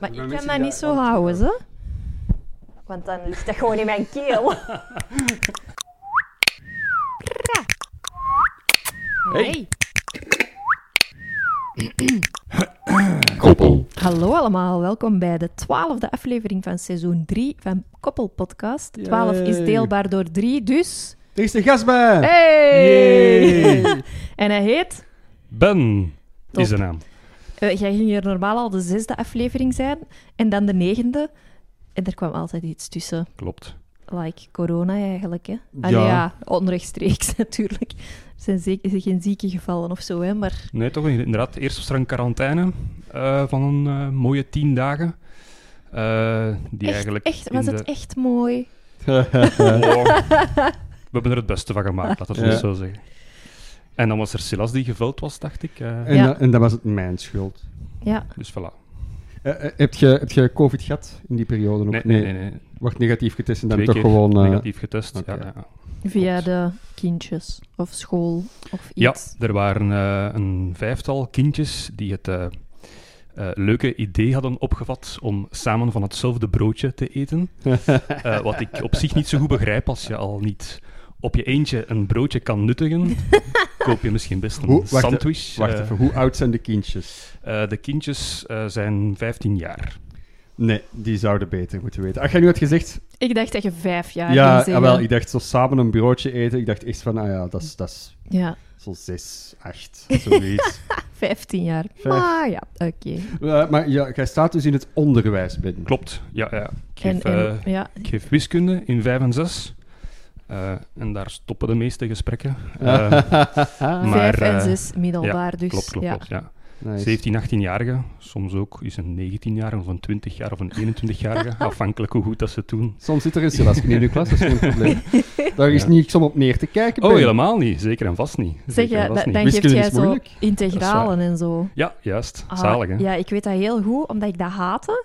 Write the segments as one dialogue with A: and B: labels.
A: Maar
B: Dan
A: ik
B: is
A: kan
B: hij
A: dat
B: daar-
A: niet zo
B: want-
A: houden, hè? Want dan ligt dat gewoon in mijn keel. Nee.
C: Koppel.
A: Hallo allemaal, welkom bij de twaalfde aflevering van seizoen 3 van Koppel Podcast. 12 is
B: Yay.
A: deelbaar door 3, dus...
B: Er is de gasbaan!
A: Hey!
B: Yay.
A: en hij heet...
C: Ben
A: Top.
C: is de naam.
A: Eh, jij ging hier normaal al de zesde aflevering zijn, en dan de negende. En er kwam altijd iets tussen,
C: Klopt.
A: like corona eigenlijk, hè? Allee,
C: Ja.
A: ja, onrechtstreeks natuurlijk. Er zijn zeker geen zieke gevallen of zo, hè? Maar
C: Nee, toch inderdaad. Eerst was er een quarantaine eh, van een eh, mooie tien dagen. Eh, die
A: echt,
C: eigenlijk
A: echt,
C: in
A: was
C: de-
A: het echt mooi.
C: Oh, we hebben er het beste van gemaakt, laten we het
B: Ja.
C: zo zeggen. En dan was er Silas die geveld was, dacht ik. eh,
B: En,
A: Ja.
B: da- en dat was het mijn schuld.
A: Ja,
C: dus voilà.
B: Eh, eh, heb, je, heb je COVID gehad in die periode? Ook?
C: Nee, nee, nee. nee.
B: Wordt negatief getest en dan
C: Twee
B: toch
C: keer
B: gewoon... eh,
C: negatief getest.
B: oké.
C: Ja, ja, ja.
A: via
C: Klopt.
A: de kindjes of school of
C: Ja,
A: iets.
C: er waren eh, een vijftal kindjes die het eh, eh, leuke idee hadden opgevat om samen van hetzelfde broodje te eten. Eh, wat ik op zich niet zo goed begrijp als je al niet op je eentje een broodje kan nuttigen. Koop je misschien best een
B: Hoe- wacht,
C: sandwich.
B: Wacht
C: Eh,
B: even, hoe oud zijn de kindjes?
C: eh, de kindjes eh, zijn 15 jaar.
B: Nee, die zouden beter moeten weten. Als jij nu had gezegd...
A: Ik dacht dat je vijf jaar ging
B: ja,
C: ah,
A: zeggen.
B: jawel, ik dacht zo samen een broodje eten. Ik dacht echt van, ah ja, dat is- dat is
A: Ja,
B: zo zes, acht, zoiets.
A: vijftien jaar.
B: Vijf.
A: Ah ja, oké.
B: Eh, maar ja, jij staat dus in het onderwijs binnen.
C: Klopt, ja. ja. Ik,
A: En,
C: geef,
A: en,
C: eh,
A: ja,
C: ik geef wiskunde in 5 en 6. en daar stoppen de meeste gesprekken. Eh, maar,
A: vijf en
C: eh,
A: zes middelbaar, dus
C: klopt, klopt,
A: ja.
C: klopt. Ja.
B: Nice.
C: 17, 18-jarige, soms ook is een 19-jarige of een 20-jarige of een 21-jarige, afhankelijk hoe goed dat ze het doen.
B: Soms zit er een Silas in de klas, dat is geen probleem. Daar is
C: Ja.
B: niks om op neer te kijken.
C: Oh,
B: Ben.
C: helemaal niet, zeker en vast niet.
A: Zeg,
C: Zeker en
A: jij,
C: vast
A: dan
C: niet.
A: dan geef
B: Wiskunde
A: jij
B: is
A: zo
B: moeilijk.
A: integralen en zo.
C: Ja, juist,
A: Ah,
C: zalig hè.
A: Ja, ik weet dat heel goed, omdat ik dat haatte.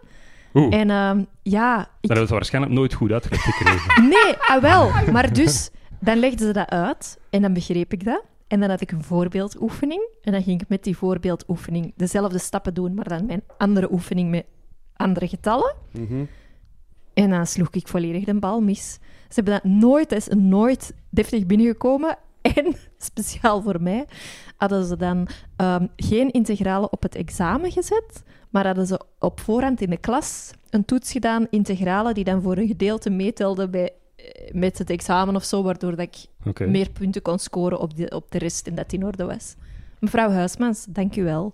C: Oeh,
A: En ehm, ja, ik
C: daar hebben ze waarschijnlijk nooit goed uitgelegd gekregen.
A: Nee, ah wel. Maar dus, dan legden ze dat uit en dan begreep ik dat. En dan had ik een voorbeeldoefening. En dan ging ik met die voorbeeldoefening dezelfde stappen doen, maar dan mijn andere oefening met andere getallen.
B: Mhm.
A: En dan sloeg ik volledig de bal mis. Ze hebben dat nooit, dat is nooit deftig binnengekomen. En speciaal voor mij hadden ze dan ehm, geen integralen op het examen gezet, maar hadden ze op voorhand in de klas een toets gedaan, integralen, die dan voor een gedeelte meetelden bij, eh, met het examen of zo, waardoor dat ik
C: Oké,
A: meer punten kon scoren op de, op de rest en dat het in orde was. Mevrouw Huismans, dank u wel.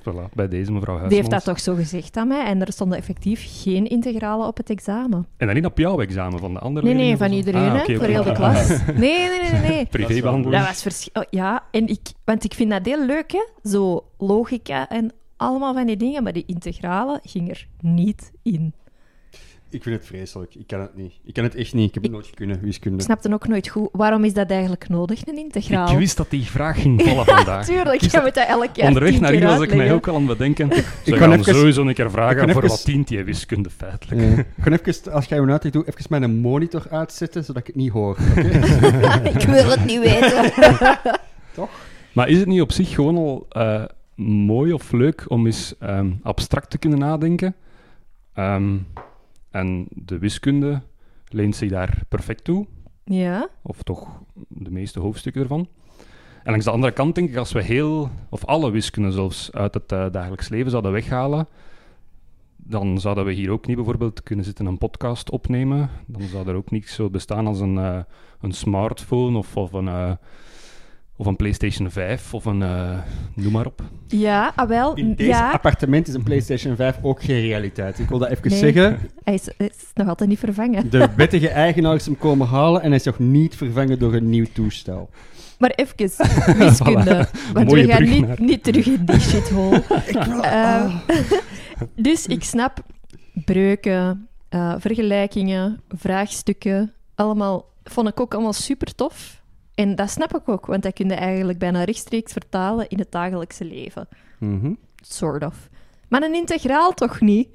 C: voilà, bij deze mevrouw Huismans.
A: Die heeft dat toch zo gezegd aan mij en er stonden effectief geen integralen op het examen.
C: En dan niet op jouw examen, van de andere
A: Nee, nee,
C: leerlingen
A: van
C: of zo?
A: iedereen,
C: Ah,
A: hè,
C: oké,
A: voor
C: oké.
A: heel de klas. Nee, nee, nee, nee. nee.
C: Privébehandeling.
A: Dat was verschil. Ja, en ik, want ik vind dat heel leuk, hè? Zo logica en allemaal van die dingen, maar die integrale ging er niet in.
B: Ik vind het vreselijk. Ik kan het niet. Ik kan het echt niet. Ik heb het nooit kunnen, wiskunde.
A: Ik snapte ook nooit goed waarom is dat eigenlijk nodig, een integraal?
C: Ik wist dat die vraag ging vallen vandaag.
A: Tuurlijk,
C: Ik wist
A: jij moet dat elk jaar
C: Onderweg
A: tien
C: naar
A: keer
C: hier was ik mij
A: uitleggen.
C: ook al aan het bedenken. Ze
B: kan
C: gaan
B: even-
C: sowieso een keer vragen
B: kan
C: voor
B: even-
C: wat dient die wiskunde feitelijk.
B: Ja. Gewoon even, als jij een uitleg doet, even mijn monitor uitzetten, zodat ik het niet hoor.
A: ik wil het niet weten.
C: Maar is het niet op zich gewoon al eh, mooi of leuk om eens ehm, abstract te kunnen nadenken? Ehm, en de wiskunde leent zich daar perfect toe,
A: Ja,
C: of toch de meeste hoofdstukken ervan. En langs de andere kant denk ik, als we heel, of alle wiskunde zelfs, uit het eh, dagelijks leven zouden weghalen, dan zouden we hier ook niet bijvoorbeeld kunnen zitten een podcast opnemen. Dan zou er ook niets zo bestaan als een, eh, een smartphone of, of een... eh, of een PlayStation 5 of een. eh, noem maar op.
A: ja ah, wel.
B: In deze
A: ja.
B: appartement is een PlayStation 5 ook geen realiteit. Ik wil dat even
A: Nee.
B: zeggen.
A: Hij is, hij is nog altijd niet vervangen.
B: De wettige eigenaar is hem komen halen en hij is nog niet vervangen door een nieuw toestel.
A: Maar even, wiskunde. want
C: Mooie
A: we gaan
C: brug
A: niet,
C: naar-
A: niet terug in die shithole. Ehm, dus ik snap breuken, eh, vergelijkingen, vraagstukken, allemaal, vond ik ook allemaal super tof. En dat snap ik ook, want dat kun je eigenlijk bijna rechtstreeks vertalen in het dagelijkse leven.
B: Mhm.
A: Sort of. Maar een integraal toch niet?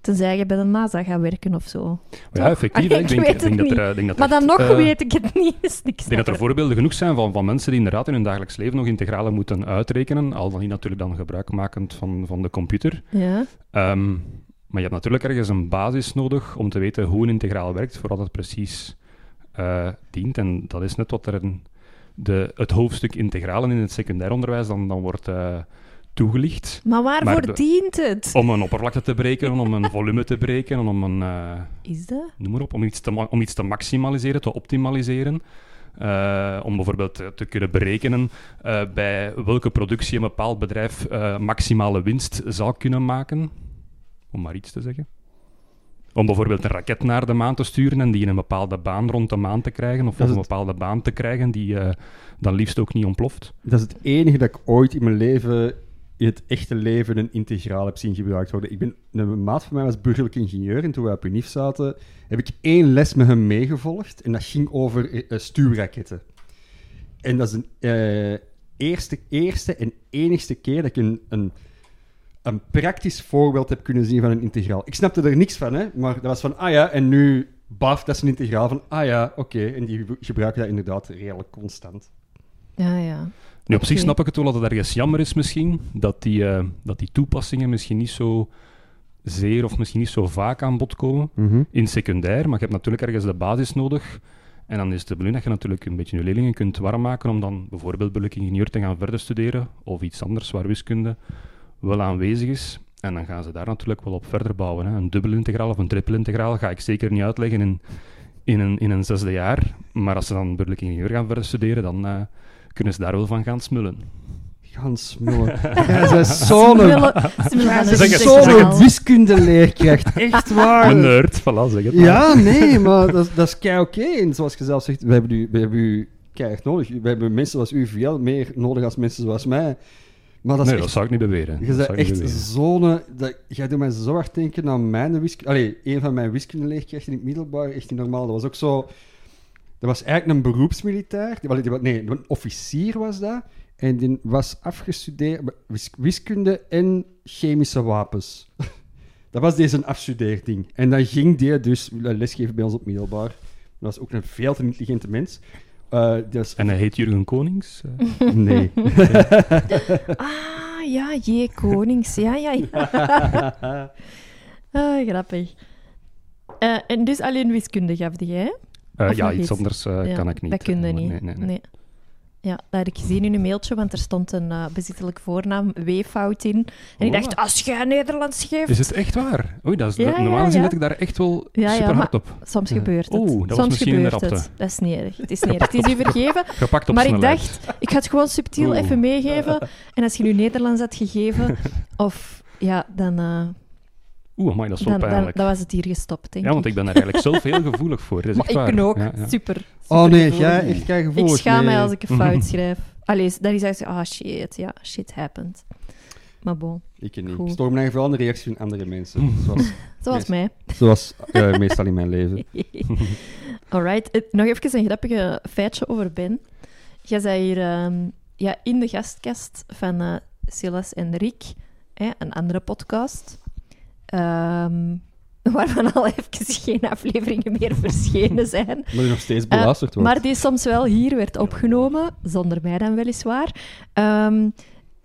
A: Tenzij je bij de NASA gaat werken of zo.
C: Maar ja, effectief.
A: Ah,
C: hè.
A: ik
C: ik denk,
A: weet
C: ik
A: het
C: denk
A: niet.
C: dat er... eh, denk dat
A: Maar
C: er
A: dan nog
C: echt, eh,
A: weet ik het niet. Dus ik
C: Ik denk dat
A: snap
C: er voorbeelden genoeg zijn van, van mensen die inderdaad in hun dagelijks leven nog integralen moeten uitrekenen, al dan niet natuurlijk dan gebruikmakend van, van de computer.
A: het. Ja.
C: Ehm, maar je hebt natuurlijk ergens een basis nodig om te weten hoe een integraal werkt, voor wat het precies eh, dient. En dat is net wat er in de, het hoofdstuk integralen in het secundair onderwijs dan, dan wordt eh, toegelicht.
A: Maar waarvoor
C: Maar de-
A: dient het?
C: Om een oppervlakte te berekenen, om een volume te berekenen, om een... eh,
A: Is dat?
C: noem maar op, om iets te, ma- om iets te maximaliseren, te optimaliseren. Eh, om bijvoorbeeld te, te kunnen berekenen eh, bij welke productie een bepaald bedrijf eh, maximale winst zal kunnen maken. Om maar iets te zeggen. Om bijvoorbeeld een raket naar de maan te sturen en die in een bepaalde baan rond de maan te krijgen. Of
B: Dat
C: op
B: is
C: een
B: het-
C: bepaalde baan te krijgen die eh, dan liefst ook niet ontploft.
B: Dat is het enige dat ik ooit in mijn leven, in het echte leven, een integraal heb zien gebruikt worden. Ik ben, een maat van mij was burgerlijk ingenieur en toen wij op UNIF zaten, heb ik één les met hem meegevolgd en dat ging over eh, eh, stuurraketten. En dat is de eh, eerste, eerste en enigste keer dat ik een, een, een praktisch voorbeeld heb kunnen zien van een integraal. Ik snapte er niks van, hè, maar dat was van, ah ja, en nu, baf, dat is een integraal van, ah ja, oké. En die gebruiken dat inderdaad redelijk constant.
A: Ja, ja.
C: Nu, op zich
A: Oké.
C: snap ik het wel dat het ergens jammer is misschien, dat die, eh, dat die toepassingen misschien niet zo zeer of misschien niet zo vaak aan bod komen. in secundair, maar je hebt natuurlijk ergens de basis nodig. En dan is het de bedoeling dat je natuurlijk een beetje je leerlingen kunt warm maken om dan bijvoorbeeld burgerlijk ingenieur te gaan verder studeren of iets anders waar wiskunde wel aanwezig is. En dan gaan ze daar natuurlijk wel op verder bouwen. Hè. Een dubbele integraal of een triple integraal ga ik zeker niet uitleggen in, in, een, in een zesde jaar. Maar als ze dan burgerlijk ingenieur gaan verder studeren, dan eh, kunnen ze daar wel van gaan smullen.
B: Gaan smullen. Jij bent zo'n...
A: willen, ze willen
B: Jij
A: van
B: bent
A: een
C: Zeg het,
B: zo'n
C: zeg
A: integraal.
B: wiskundeleerkracht. Echt waar.
C: Een nerd, voilà, zeg het.
B: Ja, nee, maar dat, is- dat is kei oké. En zoals je zelf zegt, we hebben u, we hebben u keihard nodig. We hebben mensen zoals u veel meer nodig als mensen zoals mij. Maar dat is
C: nee, dat
B: echt...
C: zou ik niet beweren.
B: Je
C: Dat
B: bent
C: zou ik niet
B: echt
C: beweren.
B: zo'n... dat- Jij doet mij zo hard denken aan mijn wiskunde... Allee, een van mijn wiskundeleerkrachten in het middelbaar, echt niet normaal. Dat was ook zo... Dat was eigenlijk een beroepsmilitair. Die- allee, die wa- Nee, een officier was dat. En die was afgestudeerd... wis- Wiskunde en chemische wapens. dat was deze afstudeerding. En dan ging die dus lesgeven bij ons op middelbaar. Dat was ook een veel te intelligente mens. Eh, die was-
C: En hij heet Jurgen Konings. eh.
B: Nee.
A: Ah, ja, J. Konings. Ja, ja, ja. Ah, grappig. Eh, en dus alleen wiskunde gaf die, hè?
C: Eh,
A: Of
C: ja,
A: nog
C: iets
A: iets?
C: anders eh,
A: Ja,
C: kan ik niet.
A: Dat kun je
C: Eh,
A: niet.
C: Nee, nee, nee.
A: Ja, dat had ik gezien in een mailtje, want er stond een eh, bezittelijk voornaam, W-fout in. En ik
C: Voilà.
A: dacht, als jij Nederlands geeft...
C: Oh. Is het echt waar? Oei, dat is
A: Ja,
C: dat- normaal
A: ja,
C: gezien
A: ja.
C: let ik daar echt wel
A: Ja, ja,
C: super hard op.
A: Soms
B: Ja.
A: gebeurt het.
C: Mhm. Oeh, dat was
A: Soms
C: misschien een
A: gebeurt
C: rapte.
A: het. Dat is niet erg. Het is niet erg. Het is u vergeven.
C: Gepakt op
A: Maar ik
C: snelheid.
A: dacht, ik ga het gewoon subtiel
C: Oeh.
A: even meegeven. En als je nu Nederlands had gegeven, of ja, dan, eh,
C: Oeh, amai, dat is wel
A: dan, dan,
C: pijnlijk.
A: dan was het hier gestopt, denk
C: ja, want ik ben daar eigenlijk zelf heel gevoelig voor. Dat is
A: Maar
C: echt
A: ik
C: waar.
A: ben ook
C: Ja, ja.
A: super,
B: Oh nee,
A: supergevoelig.
B: jij echt kei gevoelig.
A: Ik schaam mij
B: Nee.
A: als ik een fout schrijf. Allee, dan is hij ah shit, ja, shit happened. Maar bon,
B: Ik niet.
A: Goed.
B: Ik storm eigenlijk vooral aan de reacties van andere mensen. Zoals,
A: zoals
B: Yes.
A: mij.
B: zoals eh, meestal in mijn leven.
A: Alright, eh, nog even een grappige feitje over Ben. Jij zei hier ehm, ja, in de gastkast van eh, Silas en Rick, hè, een andere podcast, ehm, waarvan al even geen afleveringen meer verschenen zijn.
B: Maar die nog steeds beluisterd wordt.
A: Eh, Maar die soms wel hier werd opgenomen, zonder mij dan weliswaar. Ehm,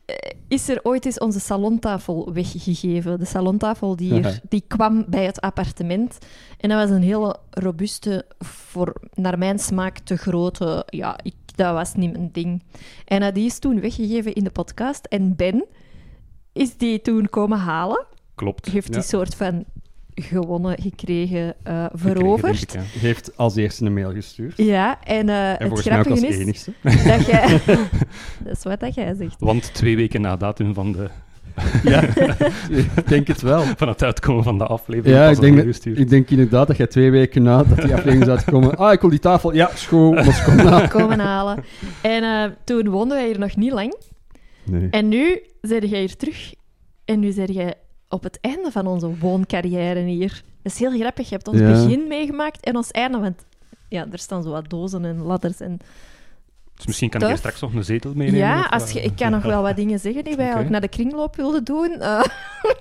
A: eh, is er ooit eens onze salontafel weggegeven? De salontafel die, er, die kwam bij het appartement. En dat was een hele robuuste, voor, naar mijn smaak te grote. Ja, ik, dat was niet mijn ding. En eh, die is toen weggegeven in de podcast. En Ben is die toen komen halen.
C: Klopt.
A: Heeft die
B: Ja.
A: soort van gewonnen, gekregen, eh,
C: Gekregen, denk
A: veroverd.
C: ik, ja.
B: Heeft als eerste een mail gestuurd.
A: Ja, en, eh,
B: En
A: het
B: volgens mij ook als
A: grappige is
B: enigste.
A: dat jij... dat is wat dat jij zegt.
C: Want twee weken na datum van, de,
B: ja, ik denk het wel.
C: van het uitkomen van de aflevering
B: Ja,
C: pas
B: ik denk,
C: opnieuw
B: dat-
C: gestuurd.
B: ik denk inderdaad dat jij twee weken na dat die aflevering zou uitkomen. Ah, ik wil die tafel. Ja, schoon. Maar kom na.
A: Komen halen. En eh, toen woonden wij hier nog niet lang.
B: Nee.
A: En nu zit jij hier terug. En nu zit jij op het einde van onze wooncarrière hier. Dat is heel grappig. Je hebt ons
B: Ja.
A: begin meegemaakt en ons einde. Want ja, er staan zo wat dozen en ladders en
C: Dus misschien kan ik
A: Tof.
C: hier straks nog een zetel meenemen.
A: Ja,
C: of,
A: als je,
C: eh,
A: ik kan nog wel wat dingen zeggen die wij
C: Oké.
A: ook naar de kringloop wilden doen. Eh,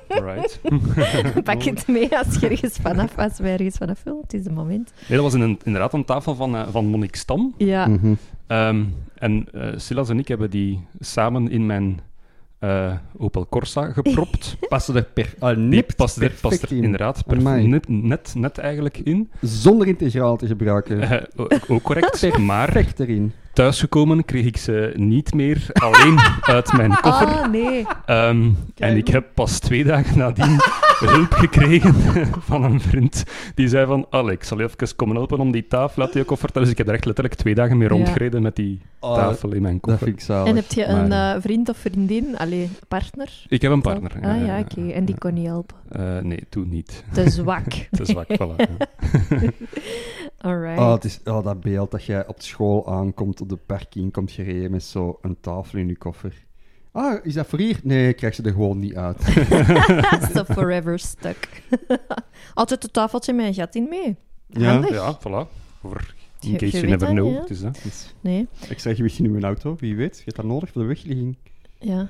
C: alright.
A: pak het mee als je ergens vanaf was, wij ergens vanaf wil. Het is het moment.
C: Nee, dat was in een, inderdaad aan tafel van, eh, van Monique Stam.
A: Ja,
B: Mhm.
C: Ehm, en eh, Silas en ik hebben die samen in mijn eh, Opel Corsa gepropt.
B: Passen er per, ah,
C: Die
B: nipt
C: past er,
B: perfect
C: past er
B: in.
C: inderdaad per,
B: Amai.
C: net, net, net eigenlijk in.
B: Zonder integraal te gebruiken.
C: Eh, ook- ook correct. Maar
B: Perfect erin.
C: thuisgekomen kreeg ik ze niet meer alleen uit mijn koffer.
A: Ah, nee.
C: Ehm, en ik heb pas twee dagen nadien hulp gekregen van een vriend. Die zei van, Alex, ik zal je even komen helpen om die tafel uit je koffer te... Dus ik heb er echt letterlijk twee dagen mee
A: Ja.
C: rondgereden met die
B: Oh,
C: tafel in mijn
B: Dat
C: koffer.
B: vind
C: Ik...
B: ik zalig.
A: En heb je een
C: maar-
A: eh, vriend of vriendin? Allee, partner?
C: heb een partner.
A: Ah ja, oké. En die kon niet helpen.
C: Eh, nee, toen niet.
A: Te zwak.
C: Te zwak, voilà. ja.
A: Alright.
B: Oh, het is, oh, dat beeld dat jij op school aankomt, op de parking komt gereden met zo'n tafel in je koffer. Ah, is dat voor hier? Nee, ik krijg ze er gewoon niet uit.
A: Stuff forever stuck. Altijd het tafeltje met een gat in mee.
B: Ja.
A: Handig.
C: Ja, voilà. Voor
A: Je-
C: in
A: je
C: case you
A: weet
C: never
A: dat,
C: know.
A: ja.
C: Het is dat.
A: Nee,
B: ik zeg je misschien in mijn auto, wie weet. Je hebt dat nodig voor de wegligging.
A: ja.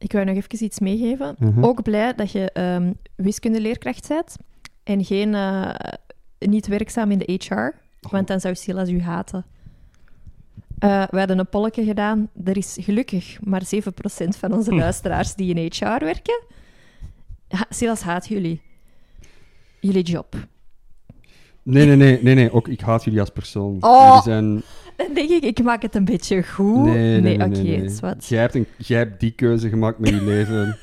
A: Ik wou nog even iets meegeven.
C: Uh-huh.
B: Mhm.
A: Ook blij dat je ehm, wiskundeleerkracht bent en geen, eh, niet werkzaam in de HR, want dan zou Silas u haten. Eh, we hadden een polletje gedaan. Er is gelukkig maar 7% van
B: Hm.
A: onze luisteraars die in HR werken. Ha- Silas haat jullie. Jullie job.
B: Nee, nee, nee, nee, nee. Ook ik haat jullie als persoon.
A: Oh.
B: Jullie zijn...
A: Dan denk ik, ik maak het een beetje goed.
B: Nee, nee, nee.
A: oké,
B: nee, nee.
A: zwart.
B: Jij, hebt een, jij hebt die keuze gemaakt met je leven.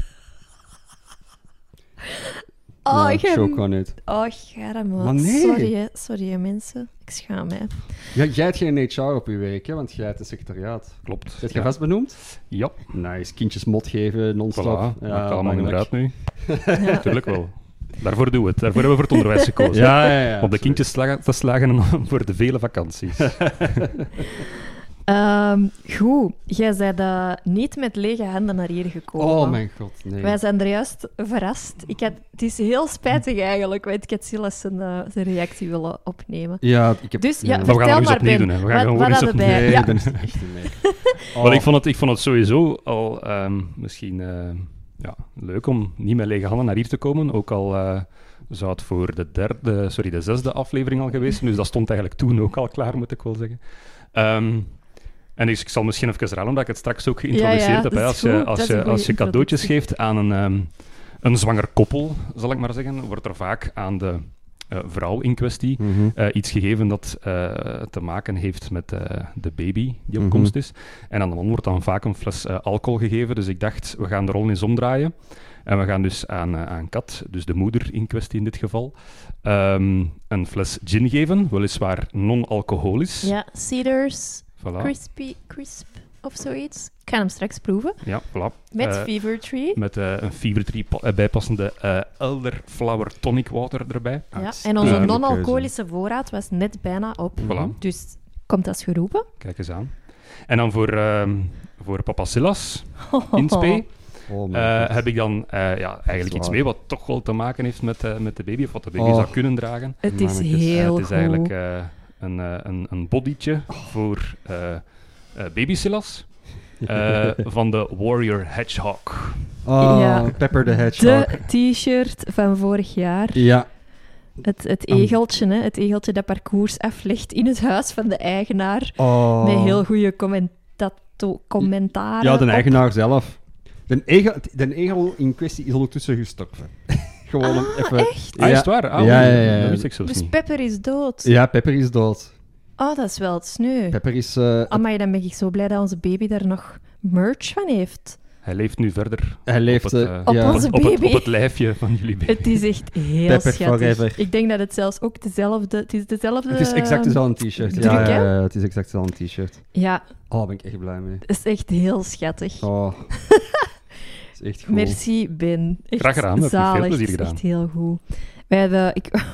A: Oh,
B: Ja,
A: ik heb...
B: zo kan het.
A: Oh, garme.
B: Maar nee.
A: Sorry, hè. sorry hè, mensen. Ik schaam mij.
B: Ja, jij hebt geen HR op je werk, hè, want jij hebt een secretariaat.
C: Klopt.
B: Zet je
C: ja.
B: vast benoemd?
C: Ja,
B: Nice, kindjes mot geven,
C: voilà.
B: non-stop.
C: Maakt allemaal
B: makkelijk.
C: inderdaad nu.
A: Ja.
C: Tuurlijk wel. Daarvoor doen we het. Daarvoor hebben we voor het onderwijs gekozen.
B: Ja, ja, ja.
C: Om de kindjes sla- te slagen en voor de vele vakanties.
A: Ehm, goed, jij bent eh, niet met lege handen naar hier gekomen.
B: Oh mijn god, nee.
A: Wij zijn er juist verrast. Ik had, het is heel spijtig eigenlijk, want ik had Silas zijn, eh, zijn reactie willen opnemen.
B: Ja, ik heb...
A: Dus ja,
B: nee.
C: Maar we gaan
A: vertel
C: nog eens
A: maar
C: opnieuw
A: Ben,
C: doen, hè. We gaan
A: wat,
C: gewoon
A: wat
C: eens
A: hadden
C: opnieuw.
A: wij?
B: Nee,
A: ja.
B: dan is het echt een nee. Oh.
C: Maar ik vond, het, ik vond het sowieso al ehm, misschien ehm, ja, leuk om niet met lege handen naar hier te komen. Ook al eh, zou het voor de, derde, sorry, de zesde aflevering al geweest zijn. Dus dat stond eigenlijk toen ook al klaar, moet ik wel zeggen. Ehm, en dus ik zal misschien even herhalen, omdat ik het straks ook geïntroduceerd
A: Ja, ja,
C: heb.
A: dat
C: hè.
A: is
C: Als je,
A: goed. Dat
C: als
A: is een
C: je,
A: goede
C: als je cadeautjes
A: introductie.
C: geeft aan een, ehm, een zwanger koppel, zal ik maar zeggen, wordt er vaak aan de eh, vrouw in kwestie
B: Mhm.
C: eh, iets gegeven dat eh, te maken heeft met eh, de baby die op
B: Mhm.
C: komst is. En aan de man wordt dan vaak een fles eh, alcohol gegeven. Dus ik dacht, we gaan de rol eens omdraaien. En we gaan dus aan, eh, aan Kat, dus de moeder in kwestie in dit geval, ehm, een fles gin geven. Weliswaar non-alcoholisch.
A: ja, Cedars,
C: Voilà.
A: Crispy, Crisp of zoiets. Ik ga hem straks proeven.
C: Ja, voilà.
A: Met
C: Eh,
A: Fever Tree.
C: Met eh, een Fever Tree pa- eh, bijpassende eh, elderflower tonic water erbij.
A: Ja, en
B: Uitstekende
A: onze
B: keuze.
A: non-alcoholische voorraad was net bijna op.
C: Voilà.
A: Dus komt als geroepen.
C: Kijk eens aan. En dan voor, ehm, voor papa Silas in spe.
B: Oh mijn
C: Eh,
B: god.
C: heb ik dan eh, ja, eigenlijk
B: Zwaar.
C: iets mee wat toch wel te maken heeft met, eh, met de baby, of wat de baby
B: Oh.
C: zou kunnen dragen.
A: Het is
B: Mannetjes,
C: Eh,
A: heel
C: het is
A: goed.
C: eigenlijk eh, een, eh, een, een bodytje
B: Oh.
C: voor eh eh, baby Silas eh, van de Warrior Hedgehog.
B: Oh,
A: Ja.
B: Pepper the Hedgehog.
A: de t-shirt van vorig jaar.
B: Ja.
A: Het, het egeltje, hè? het egeltje dat parcours aflegt in het huis van de eigenaar.
B: Oh.
A: Met heel goede commentato- commentaren.
B: Ja, de
A: op-
B: eigenaar zelf. De egel, de egel in kwestie is ondertussen gestorven. Gewoon om even...
A: echt?
C: Ah, is
B: Ja.
C: het waar? Ah,
B: Ja,
C: oei,
B: ja, ja, ja.
C: Dat wist ik zelfs
A: Dus
C: niet.
A: Pepper is dood.
B: Ja, Pepper is dood.
A: Oh, dat is wel het sneu.
B: Pepper is... eh,
A: Amai, dan ben ik zo blij dat onze baby daar nog merch van heeft.
C: Hij leeft nu verder
B: hij leeft...
C: op het,
B: eh,
C: eh,
A: Op
B: ja.
A: onze
C: op, het,
A: baby.
C: op het lijfje van jullie baby.
A: Het is echt heel
B: Pepper
A: schattig.
B: forever.
A: Ik denk dat het zelfs ook dezelfde... Het is dezelfde...
B: Het is exact dezelfde t-shirt.
A: eh, druk,
B: ja, ja,
A: hè?
B: ja, het is exact dezelfde t-shirt.
A: Ja,
B: Oh, daar ben ik echt blij mee.
A: het is echt heel schattig.
B: Oh. Het is echt goed.
A: Merci, Ben. Echt
C: Graag gedaan, heb je veel
A: zalig.
C: plezier
A: Het is
C: gedaan.
A: Echt heel goed. Wij hebben, ik,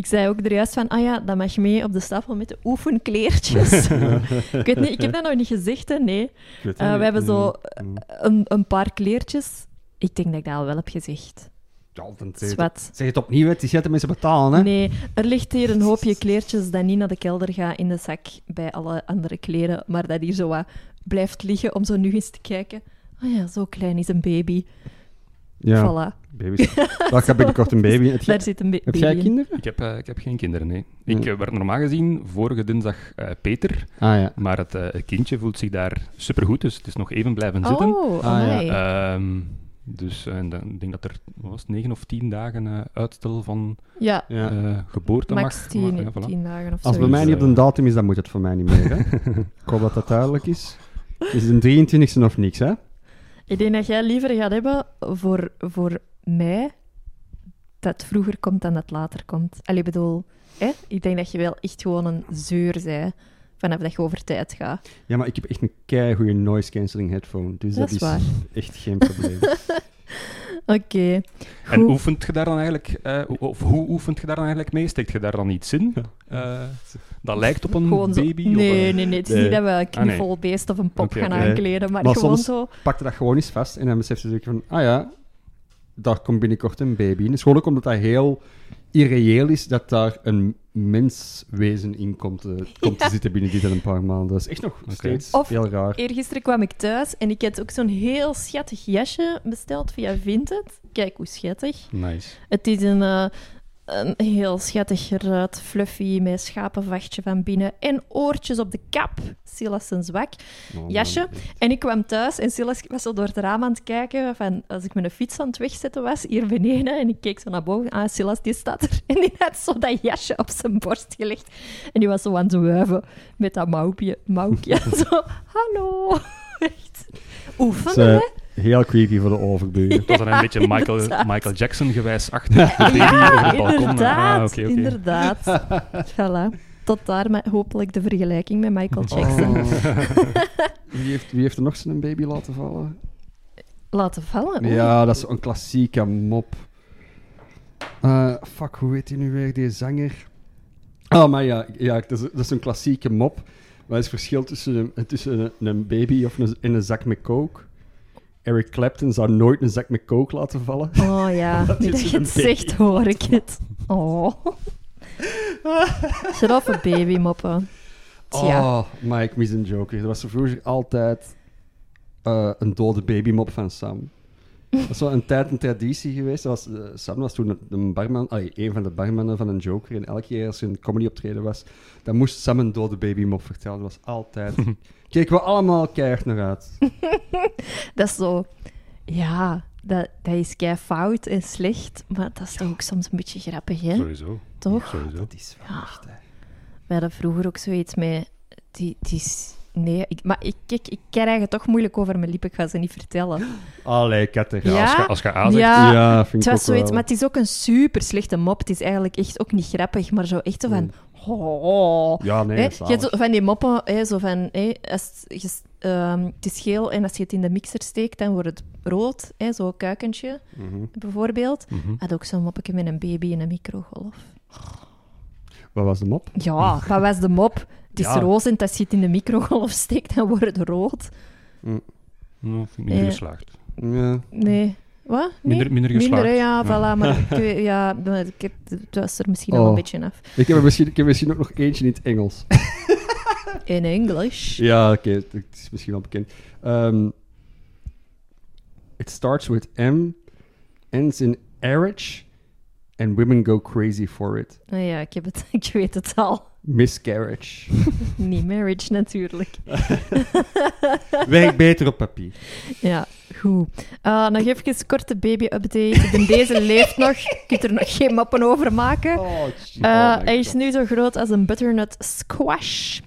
A: ik zei ook er juist van, ah ja, dat mag mee op de stapel met de oefenkleertjes. ik weet niet, ik heb dat nog niet gezegd, hè, nee.
B: Ik weet het
A: Eh,
B: niet.
A: we hebben zo
B: Mm.
A: een, een paar kleertjes. Ik denk dat ik dat al wel heb gezegd.
B: Ja, altijd zeg het.
A: Zwat.
B: Zeg het opnieuw, hè. het is net de mensen betalen. Hè.
A: Nee, er ligt hier een hoopje kleertjes dat niet naar de kelder gaat in de zak bij alle andere kleren, maar dat hier zo wat blijft liggen om zo nu eens te kijken. Oh ja, zo klein is een baby.
B: Ja,
A: Voilà,
B: baby's. Daar gaat binnenkort een baby. in. Heb jij-
A: daar zit een ba-
B: heb
A: baby
B: jij
A: in.
B: kinderen?
C: Ik heb, eh, ik heb geen kinderen, nee.
B: Nee.
C: Ik eh, werd normaal gezien vorige dinsdag eh, Peter,
B: Ah ja.
C: maar het eh, kindje voelt zich daar supergoed, dus het is nog even blijven zitten.
A: Oh,
B: Ah, ja.
A: amai.
C: Ehm, dus eh, en dan, ik denk dat er wat was het, negen of tien dagen eh, uitstel van
A: ja,
B: ja.
C: eh, geboorte
A: max
C: mag. maar,
A: tien,
C: ja, voilà.
A: tien dagen of zo.
B: Als het bij mij
C: Sowieso,
B: niet op
C: ja.
B: een datum is, dan moet het voor mij niet meer. Hè? ik hoop dat dat duidelijk is. Is het een 23e of niks, hè?
A: Ik denk dat jij liever gaat hebben voor, voor mij dat het vroeger komt dan dat het later komt. Allee, bedoel, hè? ik denk dat je wel echt gewoon een zeur zij vanaf dat je over tijd gaat.
B: Ja, maar ik heb echt een keigoede noise cancelling headphone. Dus dat,
A: Dat is waar.
B: echt geen probleem.
A: Oké.
C: En
A: Goed.
C: oefent je daar dan eigenlijk, eh, o- of hoe oefent je daar dan eigenlijk mee? Steekt je daar dan iets in? Eh, dat lijkt op een
A: Gewoon zo-
C: baby? of
A: Nee,
C: een-
A: nee, nee. Het is
B: Nee.
A: niet dat we een
C: Ah, nee.
A: knuffelbeest of een pop
C: Oké,
A: gaan
C: oké.
A: aankleden, maar,
B: Maar
A: gewoon
B: soms-
A: zo.
B: Pakte dat gewoon eens vast en dan beseft ze zeker van, ah ja, daar komt binnenkort een baby in. Het is gewoon ook omdat dat heel irreëel is dat daar een menswezen in komt, eh, komt te zitten binnen die een paar maanden. Dat is echt nog steeds
A: Of-
B: heel raar.
A: Eergisteren kwam ik thuis en ik had ook zo'n heel schattig jasje besteld via Vinted. Kijk hoe schattig.
C: Nice.
A: Het is een, eh, een heel schattig geruit, fluffy, met schapenvachtje van binnen en oortjes op de kap. Silas zijn zwak.
B: Oh, man.
A: jasje. En ik kwam thuis en Silas was zo door het raam aan het kijken van als ik mijn fiets aan het wegzetten was, hier beneden. En ik keek zo naar boven. Ah, Silas, die staat er. En die had zo dat jasje op zijn borst gelegd. En die was zo aan het wuiven met dat mouwpje, mouwkje. zo, hallo. Echt.
B: Dat
A: Oefenen,
B: is, eh,
A: hè?
B: heel creepy voor de overburen.
C: Dat was dan een beetje Michael,
A: inderdaad.
C: Michael Jackson gewijs achter de baby over het balkon.
A: inderdaad,
C: Ah, oké, oké.
A: inderdaad. voilà. Tot daar met hopelijk de vergelijking met Michael
C: Oh.
A: Jackson.
B: wie, heeft, wie heeft er nog zijn baby laten vallen?
A: Laten vallen. oei.
B: Ja, dat is een klassieke mop. Eh, fuck, hoe heet hij nu weer, die zanger? Oh, maar ja, ja dat, is, dat is een klassieke mop. Wat is het verschil tussen een, tussen een, een baby of een, en een zak met coke? Eric Clapton zou nooit een zak met coke laten vallen.
A: Oh ja,
B: Dat
A: nu
B: is
A: dat je
B: een
A: het zegt, hoor ik het. Oh. Grove baby moppen. Tja.
B: Oh, maar ik mis een joker. Er was er vroeger altijd eh, een dode babymop van Sam. Dat is wel een tijd een traditie geweest. Dat was, eh, Sam was toen een- een barman, allee, een van de barmannen van een joker. En elke keer als er een comedy optreden was, dan moest Sam een dode babymop vertellen. Dat was altijd... Keken we allemaal keihard naar uit.
A: Dat is zo... Ja, dat, dat is kei fout en slecht, maar dat is toch ook soms een beetje grappig, hè?
C: Sowieso.
A: Toch?
C: Sowieso.
B: Dat is wel echt, hè.
A: We hadden vroeger ook zoiets met... Die, die is... Nee, ik, maar ik, ik, ik krijg het toch moeilijk over mijn lippen. Ik ga ze niet vertellen.
B: Allee, Katerina.
A: Ja?
C: Als je A zegt,
A: Ja,
B: Ja, vind
A: Het
B: ik ook
A: was zoiets,
B: wel.
A: maar het is ook een super slechte mop. Het is eigenlijk echt ook niet grappig, maar zo echt zo van... Oh.
B: Ja, nee,
A: Hè,
B: dat is
A: je hebt
B: zalig.
A: zo van die moppen, hè, zo van, hè, als het, je s- ehm, het is geel en als je het in de mixer steekt, dan wordt het rood. Hè, Zo'n kuikentje,
B: Mhm.
A: bijvoorbeeld.
C: Mhm.
A: Had ook zo'n moppetje met een baby in een microgolf.
B: Wat was de mop?
A: Ja, wat was de mop? Het is
B: Ja.
A: roze en als je het in de microgolf steekt, dan wordt het rood.
C: nou, vind ik minder
A: Eh,
C: geslaagd.
B: Ja.
A: Nee. Wat? Nee?
C: Minder, minder geslaagd.
A: Minder, hè, ja, voilà. Maar ik, weet- ja, ik heb, het was er misschien al
B: Oh.
A: een beetje af.
B: Ik heb, er misschien, ik heb er misschien ook nog eentje in het Engels.
A: In Engels.
B: Ja, oké, het het is misschien wel bekend. Ehm, it starts with M, ends in marriage, and women go crazy for it.
A: Ah ja, ik, heb het, ik weet het al.
B: Miscarriage.
A: Niet marriage, natuurlijk.
B: Werkt beter op papier.
A: Ja, goed. Eh, nog even een korte baby-update. De Deze leeft nog. Je kunt er nog geen mappen over maken.
B: Oh,
A: Eh, hij is nu zo groot als een butternut squash.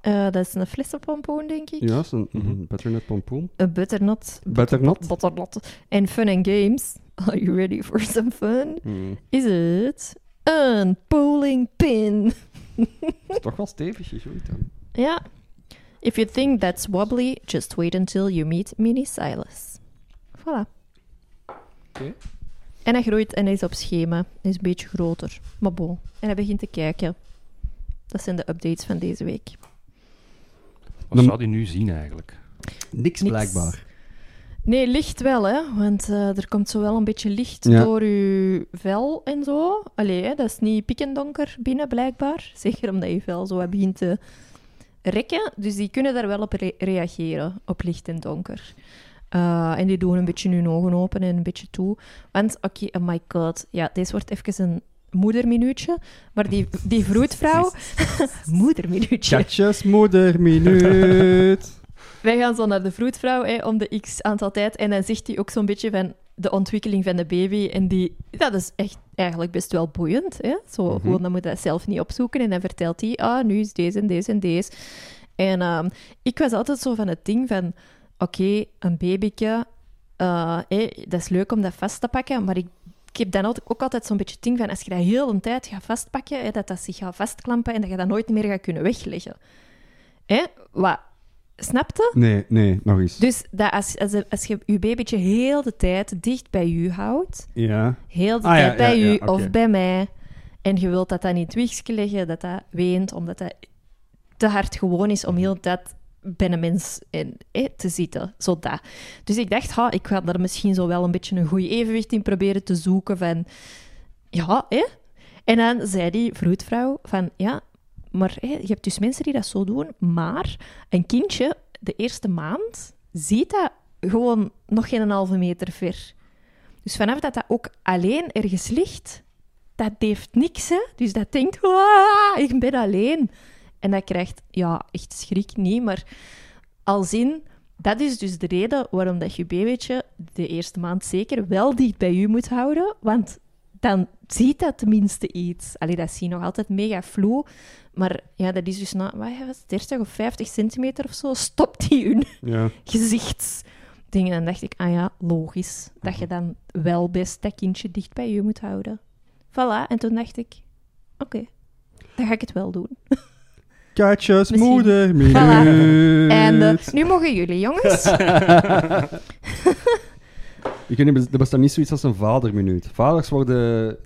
A: Eh, dat is een flessenpompoen, denk ik.
B: Ja, dat is een, een butternut pompoen.
A: Een butternut.
B: Butternut?
A: Butternut. En fun and games. Are you ready for some fun?
B: Hmm,
A: Is het een bowling pin?
B: is toch wel stevig gegroeid dan.
A: Ja. If you think that's wobbly, just wait until you meet Mini Silas. Voilà.
B: Oké.
A: En hij groeit en hij is op schema. Hij is een beetje groter. Maar bon. En hij begint te kijken. Dat zijn de updates van deze week.
C: Wat zou die nu zien eigenlijk?
B: Niks, blijkbaar.
A: Nee, licht wel, hè. Want eh, er komt zo wel een beetje licht
B: Ja.
A: door uw vel en zo. Allee, hè, dat is niet pikendonker binnen, blijkbaar. Zeker omdat je vel zo wat begint te rekken. Dus die kunnen daar wel op re- reageren, op licht en donker. Eh, en die doen een beetje hun ogen open en een beetje toe. Want, oké, oh my god. Ja, deze wordt even een moederminuutje. Maar die, die vroedvrouw... moederminuutje.
B: Katjes, moeder, minuut.
A: Wij gaan zo naar de vroedvrouw hè, om de x aantal tijd. En dan zegt hij ook zo'n beetje van de ontwikkeling van de baby. En die, dat is echt eigenlijk best wel boeiend. Hè? Zo,
B: Mhm.
A: gewoon, dan moet je dat zelf niet opzoeken. En dan vertelt hij, ah, nu is deze en deze en deze. En ehm, ik was altijd zo van het ding van, oké, een babyke, eh, hé, dat is leuk om dat vast te pakken, maar ik, ik heb dan altijd- ook altijd zo'n beetje het ding van, als je dat heel de tijd gaat vastpakken, hé, dat dat zich gaat vastklampen en dat je dat nooit meer gaat kunnen wegleggen. Hè? Wat? Snapte?
B: Nee, nee, nog eens.
A: Dus dat als, als, als je je babytje heel de tijd dicht bij u houdt,
B: Ja.
A: heel de
B: Ah, ja,
A: tijd
B: ja,
A: bij
B: ja,
A: u
B: oké.
A: of bij mij, en je wilt dat dat niet wiegske liggen, dat dat weent, omdat dat te hard gewoon is om heel de tijd bij een mens in, eh, te zitten. Zo dat. Dus ik dacht, ha, ik ga daar misschien zo wel een beetje een goed evenwicht in proberen te zoeken van... Ja, hè? En dan zei die vroedvrouw van, ja, maar hè, je hebt dus mensen die dat zo doen, maar een kindje de eerste maand ziet dat gewoon nog geen een halve meter ver. Dus vanaf dat dat ook alleen ergens ligt, dat heeft niks, hè. Dus dat denkt, "Waaah, ik ben alleen. En dat krijgt, ja, echt schrik niet, maar als in... Dat is dus de reden waarom dat je babytje de eerste maand zeker wel dicht bij je moet houden, want dan ziet dat tenminste iets. Allee, dat zie je nog altijd mega vloe, maar ja, dat is dus na wat, was het, 30 of 50 centimeter of zo, stopt die hun
B: Ja.
A: gezichtsdingen. En dan dacht ik, ah ja, logisch. Dat je dan wel best dat kindje dicht bij je moet houden. Voilà, en toen dacht ik, oké, dan ga ik het wel doen.
B: Katjes,
A: Misschien.
B: moeder,
A: Voilà.
B: minuut.
A: En eh, nu mogen jullie, jongens.
B: Ik weet niet, er bestaat niet zoiets als een vaderminuut. Vaders worden...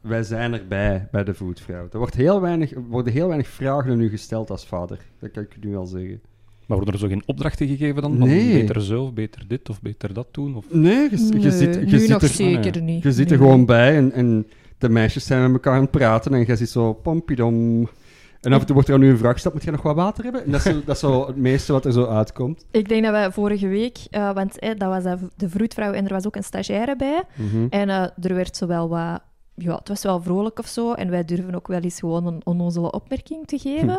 B: Wij zijn erbij bij de voetvrouw. Er wordt heel weinig, er worden heel weinig vragen aan u gesteld als vader. Dat kan ik nu al zeggen.
C: Maar worden er zo geen opdrachten gegeven dan? Van
B: Nee.
C: Beter zo, of beter dit, of beter dat doen? Of...
B: Nee, je, je
A: Nee,
B: zit, je
A: nu
B: zit
A: nog
B: er, eh,
A: zeker
C: ja.
A: niet.
B: je zit er
A: Nee.
B: gewoon bij en, en de meisjes zijn met elkaar aan het praten en jij zit zo pompidom. En af en toe wordt er aan u een vraag gesteld, moet jij nog wat water hebben? En dat is, zo- dat is zo het meeste wat er zo uitkomt.
A: Ik denk dat wij vorige week, eh, want eh, dat was dat v- de vroedvrouw en er was ook een stagiaire bij.
B: Mhm.
A: En eh, er werd zo wel wat... Ja, het was wel vrolijk of zo. En wij durven ook wel eens gewoon een onnozele opmerking te
B: Hm.
A: geven.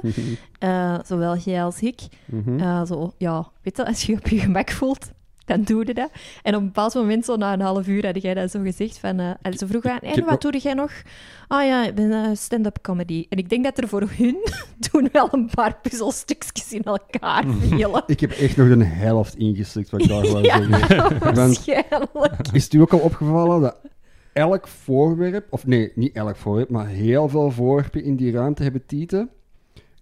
A: Eh, zowel jij als ik.
B: Mhm.
A: Eh, zo, ja, weet je, als je je op je gemak voelt, dan doe je dat. En op een bepaald moment, zo na een half uur, had jij dat zo gezegd van... eh, en ze vroeg aan,
B: ik heb
A: en wat doe jij nog? Ah ja, ik ben eh, stand-up comedy. En ik denk dat er voor hun toen wel een paar puzzelstukjes in elkaar vielen.
B: Ik heb echt nog een helft ingeslikt wat ik daar wou
A: Ja,
B: zeggen.
A: waarschijnlijk.
B: Is het u ook al opgevallen dat elk voorwerp, of nee, niet elk voorwerp, maar heel veel voorwerpen in die ruimte hebben tieten?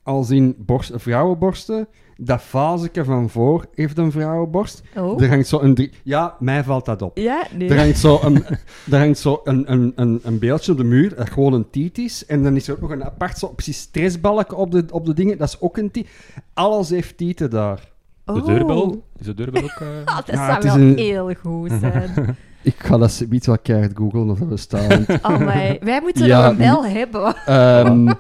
B: Als in borst, vrouwenborsten, dat fazeke van voor heeft een vrouwenborst.
A: Oh.
B: Er hangt zo een drie... Ja, mij valt dat op.
A: Ja, nee.
B: Er hangt zo, een, er hangt zo een, een, een, een beeldje op de muur, dat gewoon een tiet is. En dan is er ook nog een apart zo, precies stressbalk op de, op de dingen, dat is ook een tiet. Alles heeft tieten daar.
C: De
A: Oh.
C: deurbel? Is de deurbel ook... eh,
A: Ah, dat
B: Ja,
A: zou
B: het is
A: wel
B: een-
A: heel goed zijn.
B: Ik ga dat zoiets wel keihard googlen of dat bestaat.
A: Amai. Wij moeten
B: Ja,
A: er een bel hebben.
B: Ehm,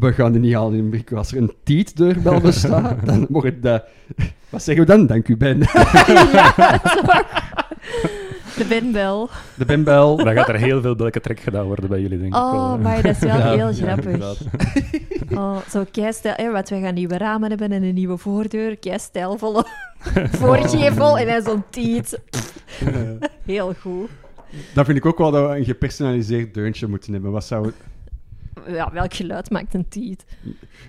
B: we gaan die niet halen in Amerika. Als er een tiet-deurbel bestaat, dan wordt dat... Wat zeggen we dan? Dank u, Ben.
A: De benbel.
B: De Benbel.
C: Dan gaat er heel veel welke trek gedaan worden bij jullie, denk ik. wel,
A: Oh,
C: hè.
A: maar dat is wel
B: Ja,
A: heel
B: ja,
A: grappig.
B: inderdaad.
A: Oh, zo keistijl. Hè, want wij gaan nieuwe ramen hebben en een nieuwe voordeur. Keistijlvolle voorgevel en dan zo'n tiet. Heel goed.
B: Dat vind ik ook wel dat we een gepersonaliseerd deuntje moeten hebben. Wat zou...
A: Ja, welk geluid maakt een tiet?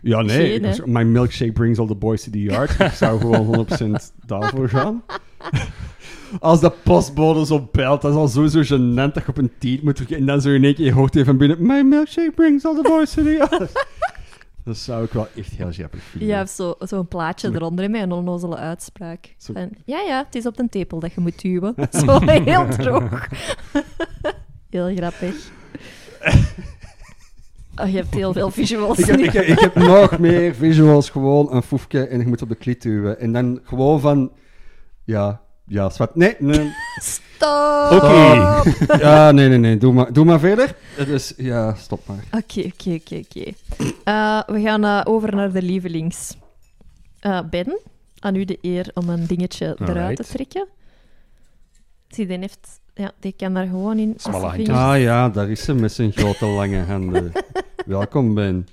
B: Ja, nee.
A: Geen, hè?
B: ik- my milkshake brings all the boys to the yard. ik zou gewoon 100% daarvoor gaan. Als de postbode zo belt, dat is al sowieso gênant dat je op een tiet moet... drukken. En dan zo in één keer, je hoort even van binnen... My milkshake brings all the boys to the yard. Dat zou ik wel echt heel grappig vinden.
A: Ja, of zo- zo'n plaatje eronder hè, met een onnozele uitspraak.
B: Zo-
A: Van, ja, ja, het is op de tepel dat je moet duwen. Zo heel droog. heel grappig. Oh, je hebt heel veel visuals
B: Ik heb,
A: nu.
B: ik, heb, ik heb nog meer visuals, gewoon een foefje en je moet op de klit duwen. En dan gewoon van, ja, Ja, zwart. Nee, nee.
A: Stop!
C: Oké.
A: Oké,
B: Ja, nee, nee, nee. Doe maar, doe maar verder. Het is, ja, stop maar.
A: oké, oké, oké. Eh, We gaan eh, over naar de lievelings. Eh, ben, aan u de eer om een dingetje eruit
C: Alright.
A: te trekken. Zie, die heeft... Ja, die kan daar gewoon in... met
C: Smalle
A: zijn
C: handjes.
A: vingers.
B: Ah ja, daar is ze met zijn grote lange handen. Welkom, Ben.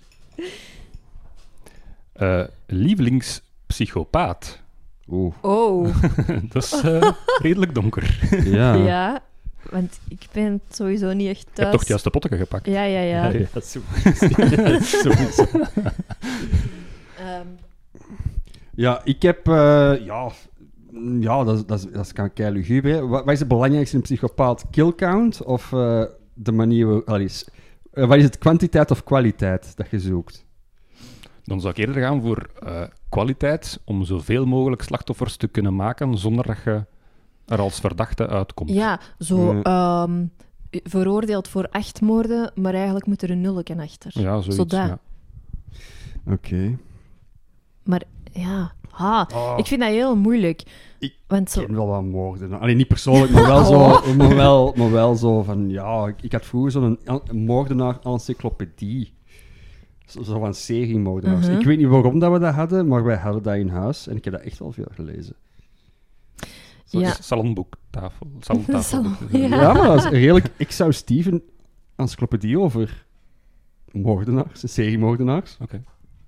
C: Eh, lievelingspsychopaat.
B: Oeh,
A: Oh,
C: dat is eh, redelijk donker.
B: ja.
A: ja. Want ik ben sowieso niet echt
C: Je hebt
A: thuis.
C: toch juist de potten gepakt?
A: Ja, ja, ja.
B: zo.
A: Ehm,
B: Ja, ik heb... eh, ja, mm, ja, dat, is- dat, is- dat kan kei luguber. hè. Wat, wat is het belangrijkste in een psychopaat? Kill count of eh, de manier... waar- allee, s- eh, wat is het, kwantiteit of kwaliteit dat je zoekt?
C: Dan zou ik eerder gaan voor eh, kwaliteit, om zoveel mogelijk slachtoffers te kunnen maken zonder dat je er als verdachte uitkomt.
A: ja, zo
B: Ja.
A: ehm, veroordeeld voor acht moorden, maar eigenlijk moet er een nulletje achter.
C: ja zoiets.
A: Zodat.
C: ja.
B: Oké.
A: Maar ja, ha,
B: Oh.
A: ik vind dat heel moeilijk.
B: Ik
A: Want
B: Ik
A: zo,
B: ken wel wat moorden. Alleen niet persoonlijk, maar wel, zo, maar, wel, maar wel zo van... Ja, ik- ik had vroeger zo'n an- moordenaar-encyclopedie. Zo zo van seriemoordenaars.
A: Mhm.
B: Ik weet niet waarom dat we dat hadden, maar wij hadden dat in huis. En ik heb dat echt wel veel gelezen.
C: Zo,
A: Ja.
C: is Salonboektafel. Salontafelboek.
A: Salon,
B: Ja, maar dat is een redelijk exhaustief een encyclopedie over moordenaars, seriemoordenaars.
C: Oké.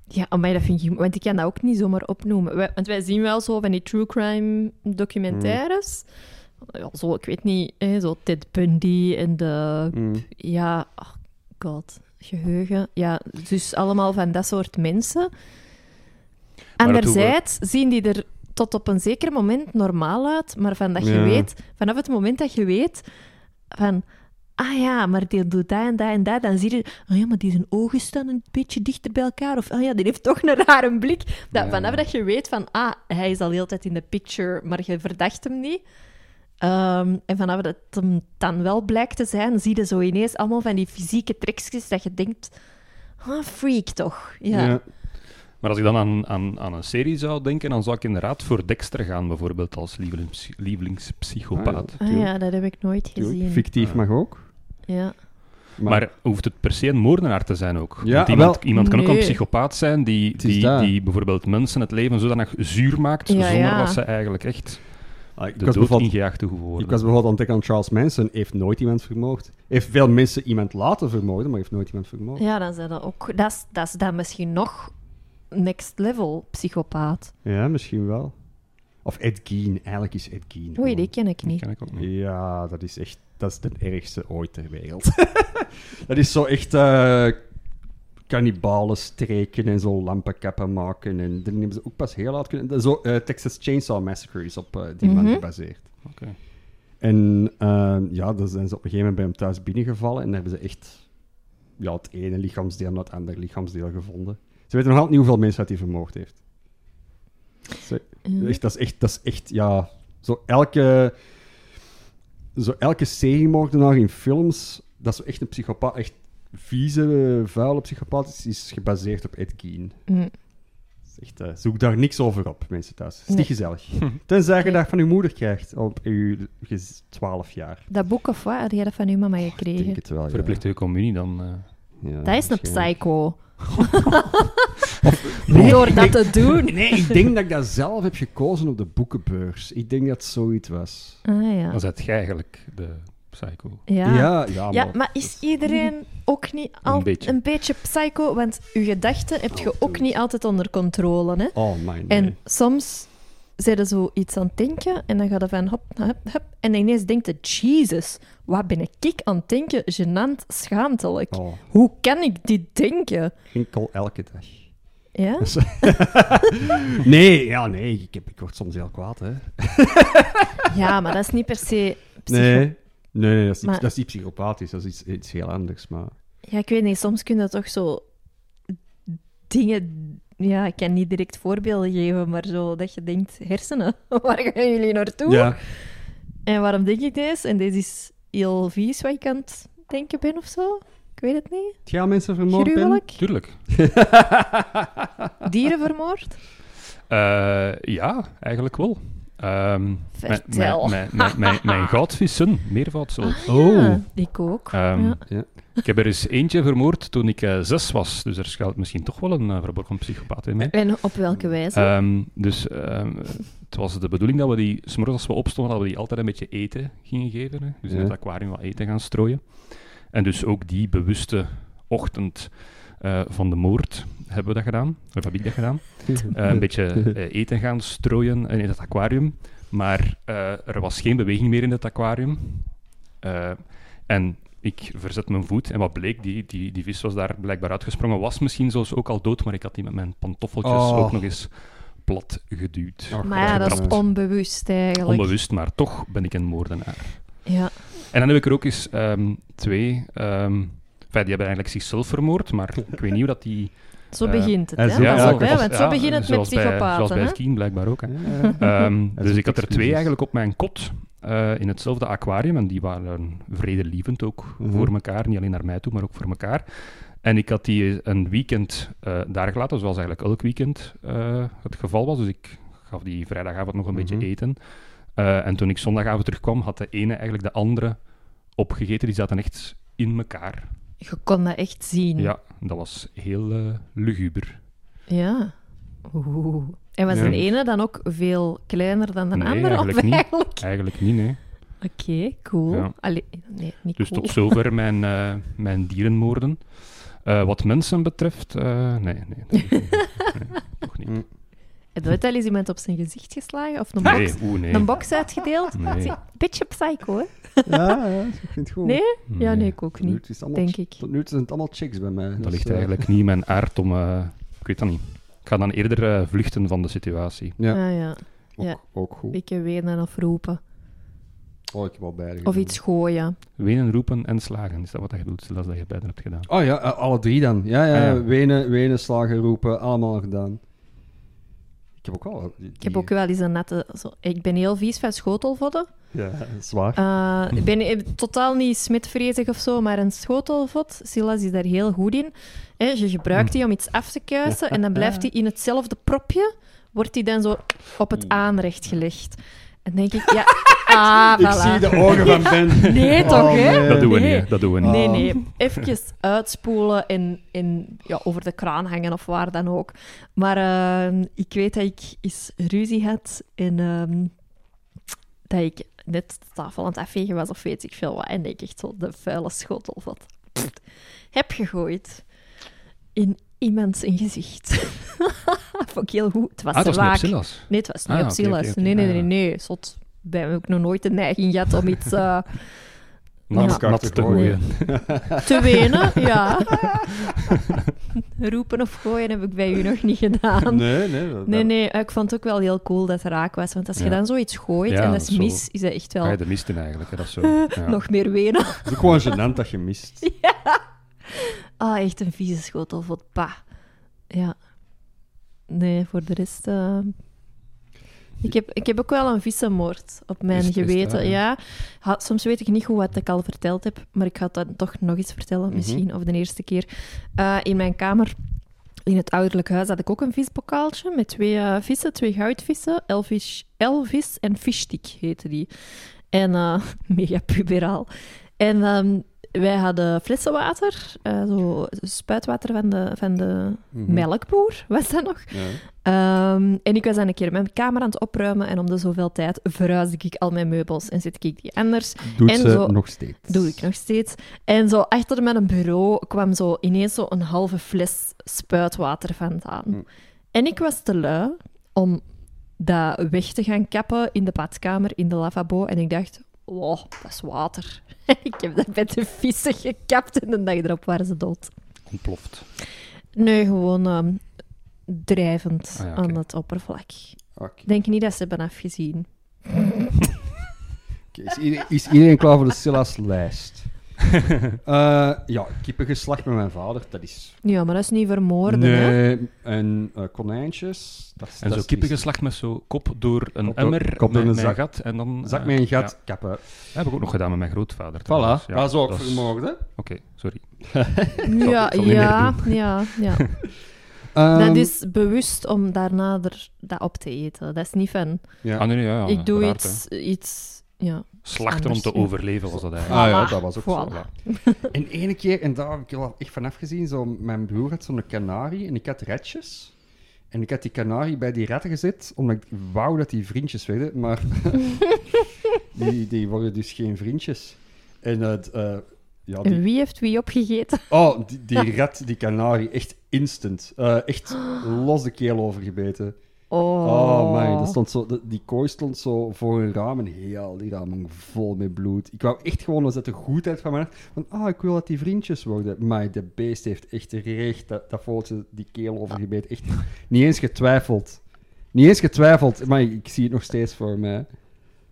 A: ja, amai, dat vind ik... Want ik kan dat ook niet zomaar opnoemen. Wij- want wij zien wel zo van die true crime documentaires. Ja, zo, ik weet niet, hè, zo Ted Bundy en de...
B: Mm.
A: Ja, oh god, geheugen. Ja, dus allemaal van dat soort mensen.
C: doen we-
A: Anderzijds zien die er tot op een zeker moment normaal uit, maar van dat je
B: Ja.
A: weet, vanaf het moment dat je weet van, ah ja, maar die doet dat en dat en dat, dan zie je, oh ja, maar die zijn ogen staan een beetje dichter bij elkaar, of ah ja, die heeft toch een rare blik. Dat,
C: Ja.
A: Vanaf dat je weet van, ah, hij is al heel de tijd in de picture, maar je verdacht hem niet. Ehm, en vanaf dat het hem dan wel blijkt te zijn, zie je zo ineens allemaal van die fysieke trekjes dat je denkt... Ah, freak toch? Ja.
B: Ja.
C: Maar als ik dan aan, aan, aan een serie zou denken, dan zou ik inderdaad voor Dexter gaan, bijvoorbeeld, als lievelings, lievelingspsychopaat.
B: Ah,
A: Ah ja, dat heb ik nooit
B: Tuurlijk.
A: gezien.
B: Fictief
C: Ah.
B: mag ook.
A: Ja.
C: Maar, hoeft het per se een moordenaar te zijn ook?
B: Ja,
C: Want iemand,
B: wel-
C: iemand kan ook een
A: Nee.
C: psychopaat zijn die,
B: Het is
C: die,
B: dat.
C: die bijvoorbeeld mensen het leven zodanig zuur maakt,
A: Ja,
C: zonder
A: ja.
C: dat ze eigenlijk echt
B: Ah, ik
C: de
B: was
C: dood
B: bijvoorbeeld
C: ingejaagd te worden.
B: Ik was bijvoorbeeld aan het denken aan Charles Manson, heeft nooit iemand vermoord. Heeft veel mensen iemand laten vermoorden, maar heeft nooit iemand vermoord.
A: ja, dan zijn dat ook... Dat is, dat is dan misschien nog next level psychopaat.
B: Ja, misschien wel. Of Ed Gein, eigenlijk is Ed Gein.
A: Oei, die
B: gewoon-
A: ken ik
C: Dat
A: niet.
C: ken ik ook niet.
B: Ja, dat is echt, dat is de ergste ooit ter wereld. dat is zo echt eh kannibalen streken en zo lampenkappen maken. En dan hebben ze ook pas heel laat kunnen... dat is Zo, eh, Texas Chainsaw Massacre is op eh, die man
A: Mhm.
B: gebaseerd.
C: Oké.
B: En eh, ja, dan zijn ze op een gegeven moment bij hem thuis binnengevallen en dan hebben ze echt ja, het ene lichaamsdeel na het andere lichaamsdeel gevonden. Ze weten nog altijd niet hoeveel mensen dat hij vermoord heeft. Ze-
A: Ja.
B: echt, dat is echt, dat is echt, ja, zo elke, zo elke seriemoordenaar in films, dat is zo echt een psychopaat, echt vieze, vuile psychopaat, is, is gebaseerd op Ed Gein.
A: Mm.
B: Dat is Echt, eh, zoek daar niks over op, mensen thuis. Het is
A: Nee.
B: niet gezellig. Tenzij je
A: Nee.
B: dat van je moeder krijgt op je 12 jaar.
A: Dat boek of wat, had jij dat van uw mama
B: Ik
A: gekregen?
B: denk het wel, ja.
C: Verplichte communie dan. eh.
B: Ja,
A: dat is een
B: waarschijnlijk.
A: psycho.
B: Nee,
A: Door
B: ik-
A: dat te doen.
B: Nee, ik denk dat ik dat zelf heb gekozen op de boekenbeurs. Ik denk dat het zoiets was.
A: Ah ja.
C: Dan zet jij eigenlijk de psycho.
B: ja, ja,
A: Ja,
B: maar-
A: maar is iedereen ook niet al
C: Een beetje.
A: een beetje psycho? Want je gedachten heb je
B: Oh,
A: ook
B: dude.
A: niet altijd onder controle. Hè?
B: Oh, mijn.
A: En
B: nee.
A: soms zijn er zoiets aan het denken en dan gaat er van hop, hop, hop. En ineens denkt je, Jesus, wat ben ik aan het denken? Genant, schaamtelijk.
B: Oh,
A: Hoe kan ik dit denken?
B: enkel elke dag.
A: Ja?
B: Nee, ja, nee. Ik, heb, ik word soms heel kwaad, hè.
A: ja, maar dat is niet per se... psycho-
B: Nee. Nee, dat is, niet,
A: Maar-
B: dat is niet psychopathisch. Dat is iets, iets heel anders, maar...
A: Ja, ik weet niet, soms kun je toch zo dingen... Ja, ik kan niet direct voorbeelden geven, maar zo dat je denkt, hersenen, waar gaan jullie naartoe?
B: Ja.
A: En waarom denk ik deze? En deze is heel vies wat ik aan het denken ben of zo. Ik weet het niet.
B: Heb jij al mensen vermoord, Ben?
A: Gruwelijk.
C: Tuurlijk.
A: Dieren vermoord.
C: Eh, ja, eigenlijk wel. Ehm, mijn-
A: Vertel. Ah,
C: Mijn, mijn, mijn, mijn goudvissen, meervoudsel. Oh.
A: Ja, ik ook.
C: Ehm,
A: Ja.
B: Ja.
C: Ik heb er eens eentje vermoord toen ik eh, zes was. Dus er schuilt misschien toch wel een eh, verborgen psychopaat in mij.
A: En op welke wijze?
C: Ehm, dus ehm, het was de bedoeling dat we die, s'morgens als we opstonden, dat we die altijd een beetje eten gingen geven. Hè. Dus in
B: Ja.
C: het aquarium wat eten gaan strooien. En dus ook die bewuste ochtend eh, van de moord hebben we dat gedaan. Of heb ik dat gedaan. Eh, een beetje eh, eten gaan strooien eh, in het aquarium. Maar eh, er was geen beweging meer in het aquarium. Eh, en ik verzet mijn voet. En wat bleek, die, die, die vis was daar blijkbaar uitgesprongen. Was misschien zelfs ook al dood, maar ik had die met mijn pantoffeltjes
B: Oh.
C: ook nog eens plat geduwd.
B: Oh,
A: maar ja, dat is
B: getrapt.
A: onbewust eigenlijk.
C: Onbewust, maar toch ben ik een moordenaar.
A: Ja.
C: En dan heb ik er ook eens ehm, twee... ehm, enfin, die hebben eigenlijk zichzelf vermoord, maar ik weet niet hoe dat die...
A: Zo
C: Eh,
A: begint het,
B: en
A: hè?
B: zo-
A: Pas
B: ja,
A: op, hè?
B: klopt.
A: Want zo begint het met
C: zoals bij-
A: psychopaten,
C: Zoals bij
A: hè?
C: het Kien blijkbaar ook. Hè.
B: Ja.
C: Ehm,
B: Dat is
C: dus
B: een
C: ik had er twee
B: excuus.
C: eigenlijk op mijn kot eh, in hetzelfde aquarium. En die waren vredelievend ook
B: Mhm.
C: voor elkaar. Niet alleen naar mij toe, maar ook voor elkaar. En ik had die een weekend eh, daar gelaten, zoals eigenlijk elk weekend eh, het geval was. Dus ik gaf die vrijdagavond nog een
B: Mhm.
C: beetje eten. Eh, en toen ik zondagavond terugkwam, had de ene eigenlijk de andere opgegeten. Die zaten echt in elkaar.
A: Je kon dat echt zien.
C: Ja, dat was heel eh, luguber.
A: Ja. Oeh. En was
B: Ja.
A: de ene dan ook veel kleiner dan de
C: Nee,
A: andere?
C: eigenlijk
A: of
C: niet.
A: eigenlijk?
C: Eigenlijk niet, nee.
A: Oké, cool.
C: Ja.
A: Allee, nee, niet
C: Dus
A: cool.
C: tot zover mijn, eh, mijn dierenmoorden. Eh, wat mensen betreft, eh, nee, nee, nee, nee, toch niet.
A: Het werd al eens iemand op zijn gezicht geslagen of een box,
C: Nee, oeh, nee.
A: een box uitgedeeld.
C: Nee.
A: Zie, Beetje psycho, hè?
B: Ja, ja, ik vind het goed.
A: Nee? Ja, nee,
C: Mm, Nee.
A: ik ook
B: Tot nu
A: niet,
B: toe is het allemaal
A: denk ik.
B: Tot nu toe zijn het allemaal chicks bij mij.
C: Dat
B: Dus,
C: ligt
B: eh,
C: eigenlijk niet in mijn aard om... eh, ik weet dat niet. Ik ga dan eerder eh, vluchten van de situatie.
B: Ja.
A: Ah, ja.
B: Ook,
A: Ja.
B: ook goed.
A: Beetje wenen of roepen.
B: Oh, ik heb al beide
A: Of
B: gedaan.
A: iets gooien.
C: Wenen, roepen en slagen. Is dat wat je bedoelt, Silas, dat je beide hebt gedaan?
B: Oh ja, eh, alle drie dan. Ja, ja,
C: Ah, ja.
B: Wenen, wenen, slagen, roepen, allemaal gedaan. Ik heb ook al...
A: Ik heb ook wel eens een natte... Zo, ik ben heel vies van schotelvodden.
B: Ja, zwaar.
A: Eh, ik ben eh, totaal niet smetvreesig of zo, maar een schotelvod, Silas is daar heel goed in. Hè, je
B: Hmm.
A: gebruikt die om iets af te kuisen en dan blijft die in hetzelfde propje, wordt die dan zo op
B: Hmm.
A: het aanrecht gelegd. En denk ik, ja, ah,
B: Ik
A: voilà.
B: zie de ogen van Ben.
A: Nee,
B: Oh,
A: toch, hè?
B: nee.
C: dat doen we
A: nee.
C: niet, dat doen we niet.
A: Nee,
B: Ah.
A: nee. Even uitspoelen en, en ja, over de kraan hangen of waar dan ook. Maar ehm, ik weet dat ik eens ruzie had en ehm, dat ik net de tafel aan het afvegen was of weet ik veel wat. En dat ik echt zo de vuile schotel wat pff, heb gegooid in iemands in gezicht. Vond ik heel goed. Het was
C: Ah, dat was niet op
A: raak.
C: Silas.
A: Nee, het was niet
C: Ah,
A: op
C: oké,
A: Silas.
C: oké, oké.
A: Nee, nee,
C: Ah.
A: nee, nee. Zot. Bij mij ook nog nooit de neiging gehad om iets... eh,
C: Nat,
A: Ja.
C: nat te gooien.
A: Te wenen, ja. Roepen of gooien heb ik bij u nog niet gedaan. Nee.
B: Nee, nee. dat-
A: Nee, ik vond het ook wel heel cool dat het raak was. Want als je
C: Ja.
A: dan zoiets gooit
C: Ja,
A: en dat is
C: zo.
A: mis, is dat echt wel
C: Ga je de mist in eigenlijk, hè, dat is zo. Ja.
A: nog meer wenen.
B: Het is ook gewoon gênant dat je mist.
A: Ah, echt een vieze schotel voor het pa. Ja. Nee, voor de rest... eh, Ik heb, ik heb ook wel een vissenmoord op mijn
C: Is- is het
A: geweten.
C: waar, ja?
A: ja. Ha- soms weet ik niet goed wat ik al verteld heb, maar ik ga het dan toch nog eens vertellen, misschien, of de eerste keer. Eh, in mijn kamer, in het ouderlijk huis, had ik ook een vispokaaltje met twee eh, vissen, twee goudvissen. Elvis, Elvis en Fishstick heette die. En eh, mega puberaal. En ehm, wij hadden flessenwater, eh, zo spuitwater van de, van de
B: Mhm.
A: melkboer, was dat nog?
B: Ja.
A: Ehm, en ik was dan een keer mijn kamer aan het opruimen en om de zoveel tijd verhuisde ik al mijn meubels en zet ik die anders.
B: Doet
A: En
B: ze
A: zo-
B: nog steeds.
A: Doe ik nog steeds. En zo achter mijn bureau kwam zo ineens zo een halve fles spuitwater vandaan.
B: Hm.
A: En ik was te lui om dat weg te gaan kappen in de badkamer, in de lavabo. En ik dacht, wow, dat is water. ik heb dat met de vissen gekapt en de dag erop waren ze dood.
C: Ontploft.
A: Nee, gewoon ehm, drijvend
C: Ah ja, oké.
A: aan het oppervlak.
B: Oké.
A: Ik denk niet dat ze hebben afgezien.
B: Oké, Is, iedereen, is iedereen klaar voor de Silas lijst? Eh, ja, kippengeslacht met mijn vader, dat is...
A: Ja, maar dat is niet vermoorden, hè?
B: Nee, en eh, konijntjes. Dat, is-
C: En
B: dat
C: zo
B: is
C: kippengeslacht met zo kop door een
B: Kop door-
C: emmer,
B: kop door
C: met-
B: een
C: met
B: zak.
C: gat en dan...
B: Zak
C: eh,
B: met een
C: ja.
B: gat, kappen.
C: Dat heb ik ook nog gedaan met mijn grootvader. trouwens.
B: Voilà,
C: Ja,
B: dat is ook
C: dat is-
B: vermoorden.
C: Oké, sorry.
A: Ja,
C: zal niet meer
A: ja, ja, ja.
B: Ehm,
A: dat is bewust om daarna er, dat op te eten. Dat is niet fun.
B: Ehm, ja.
C: Ah, nee, nee, ja, ja,
A: ik doe
C: uiteraard, hè.
A: iets, iets... Ja.
C: Slachten om
A: anders,
C: te
A: ja.
C: overleven was dat eigenlijk.
B: Ah ja,
A: Voilà.
B: dat was ook zo.
A: Voilà.
B: ja. En ene keer, en daar heb ik wel echt van afgezien, zo, mijn broer had zo'n kanarie en ik had ratjes. En ik had die kanarie bij die ratten gezet, omdat ik wou dat die vriendjes werden, maar die, die worden dus geen vriendjes. En het, eh, ja, die,
A: En wie heeft wie opgegeten?
B: oh, die, die rat, die kanarie, echt instant. Eh, echt los de keel overgebeten.
A: Oh,
B: Oh, man, dat stond zo, dat- die kooi stond zo voor een raam en heel die raam hing vol met bloed. Ik wou echt gewoon, was dat de goedheid van mijn hart, van ah, ik wil dat die vriendjes worden. Maar de beest heeft echt recht dat, dat vogeltje die keel overgebeten. Echt niet eens getwijfeld. Niet eens getwijfeld, maar ik, ik zie het nog steeds voor mij.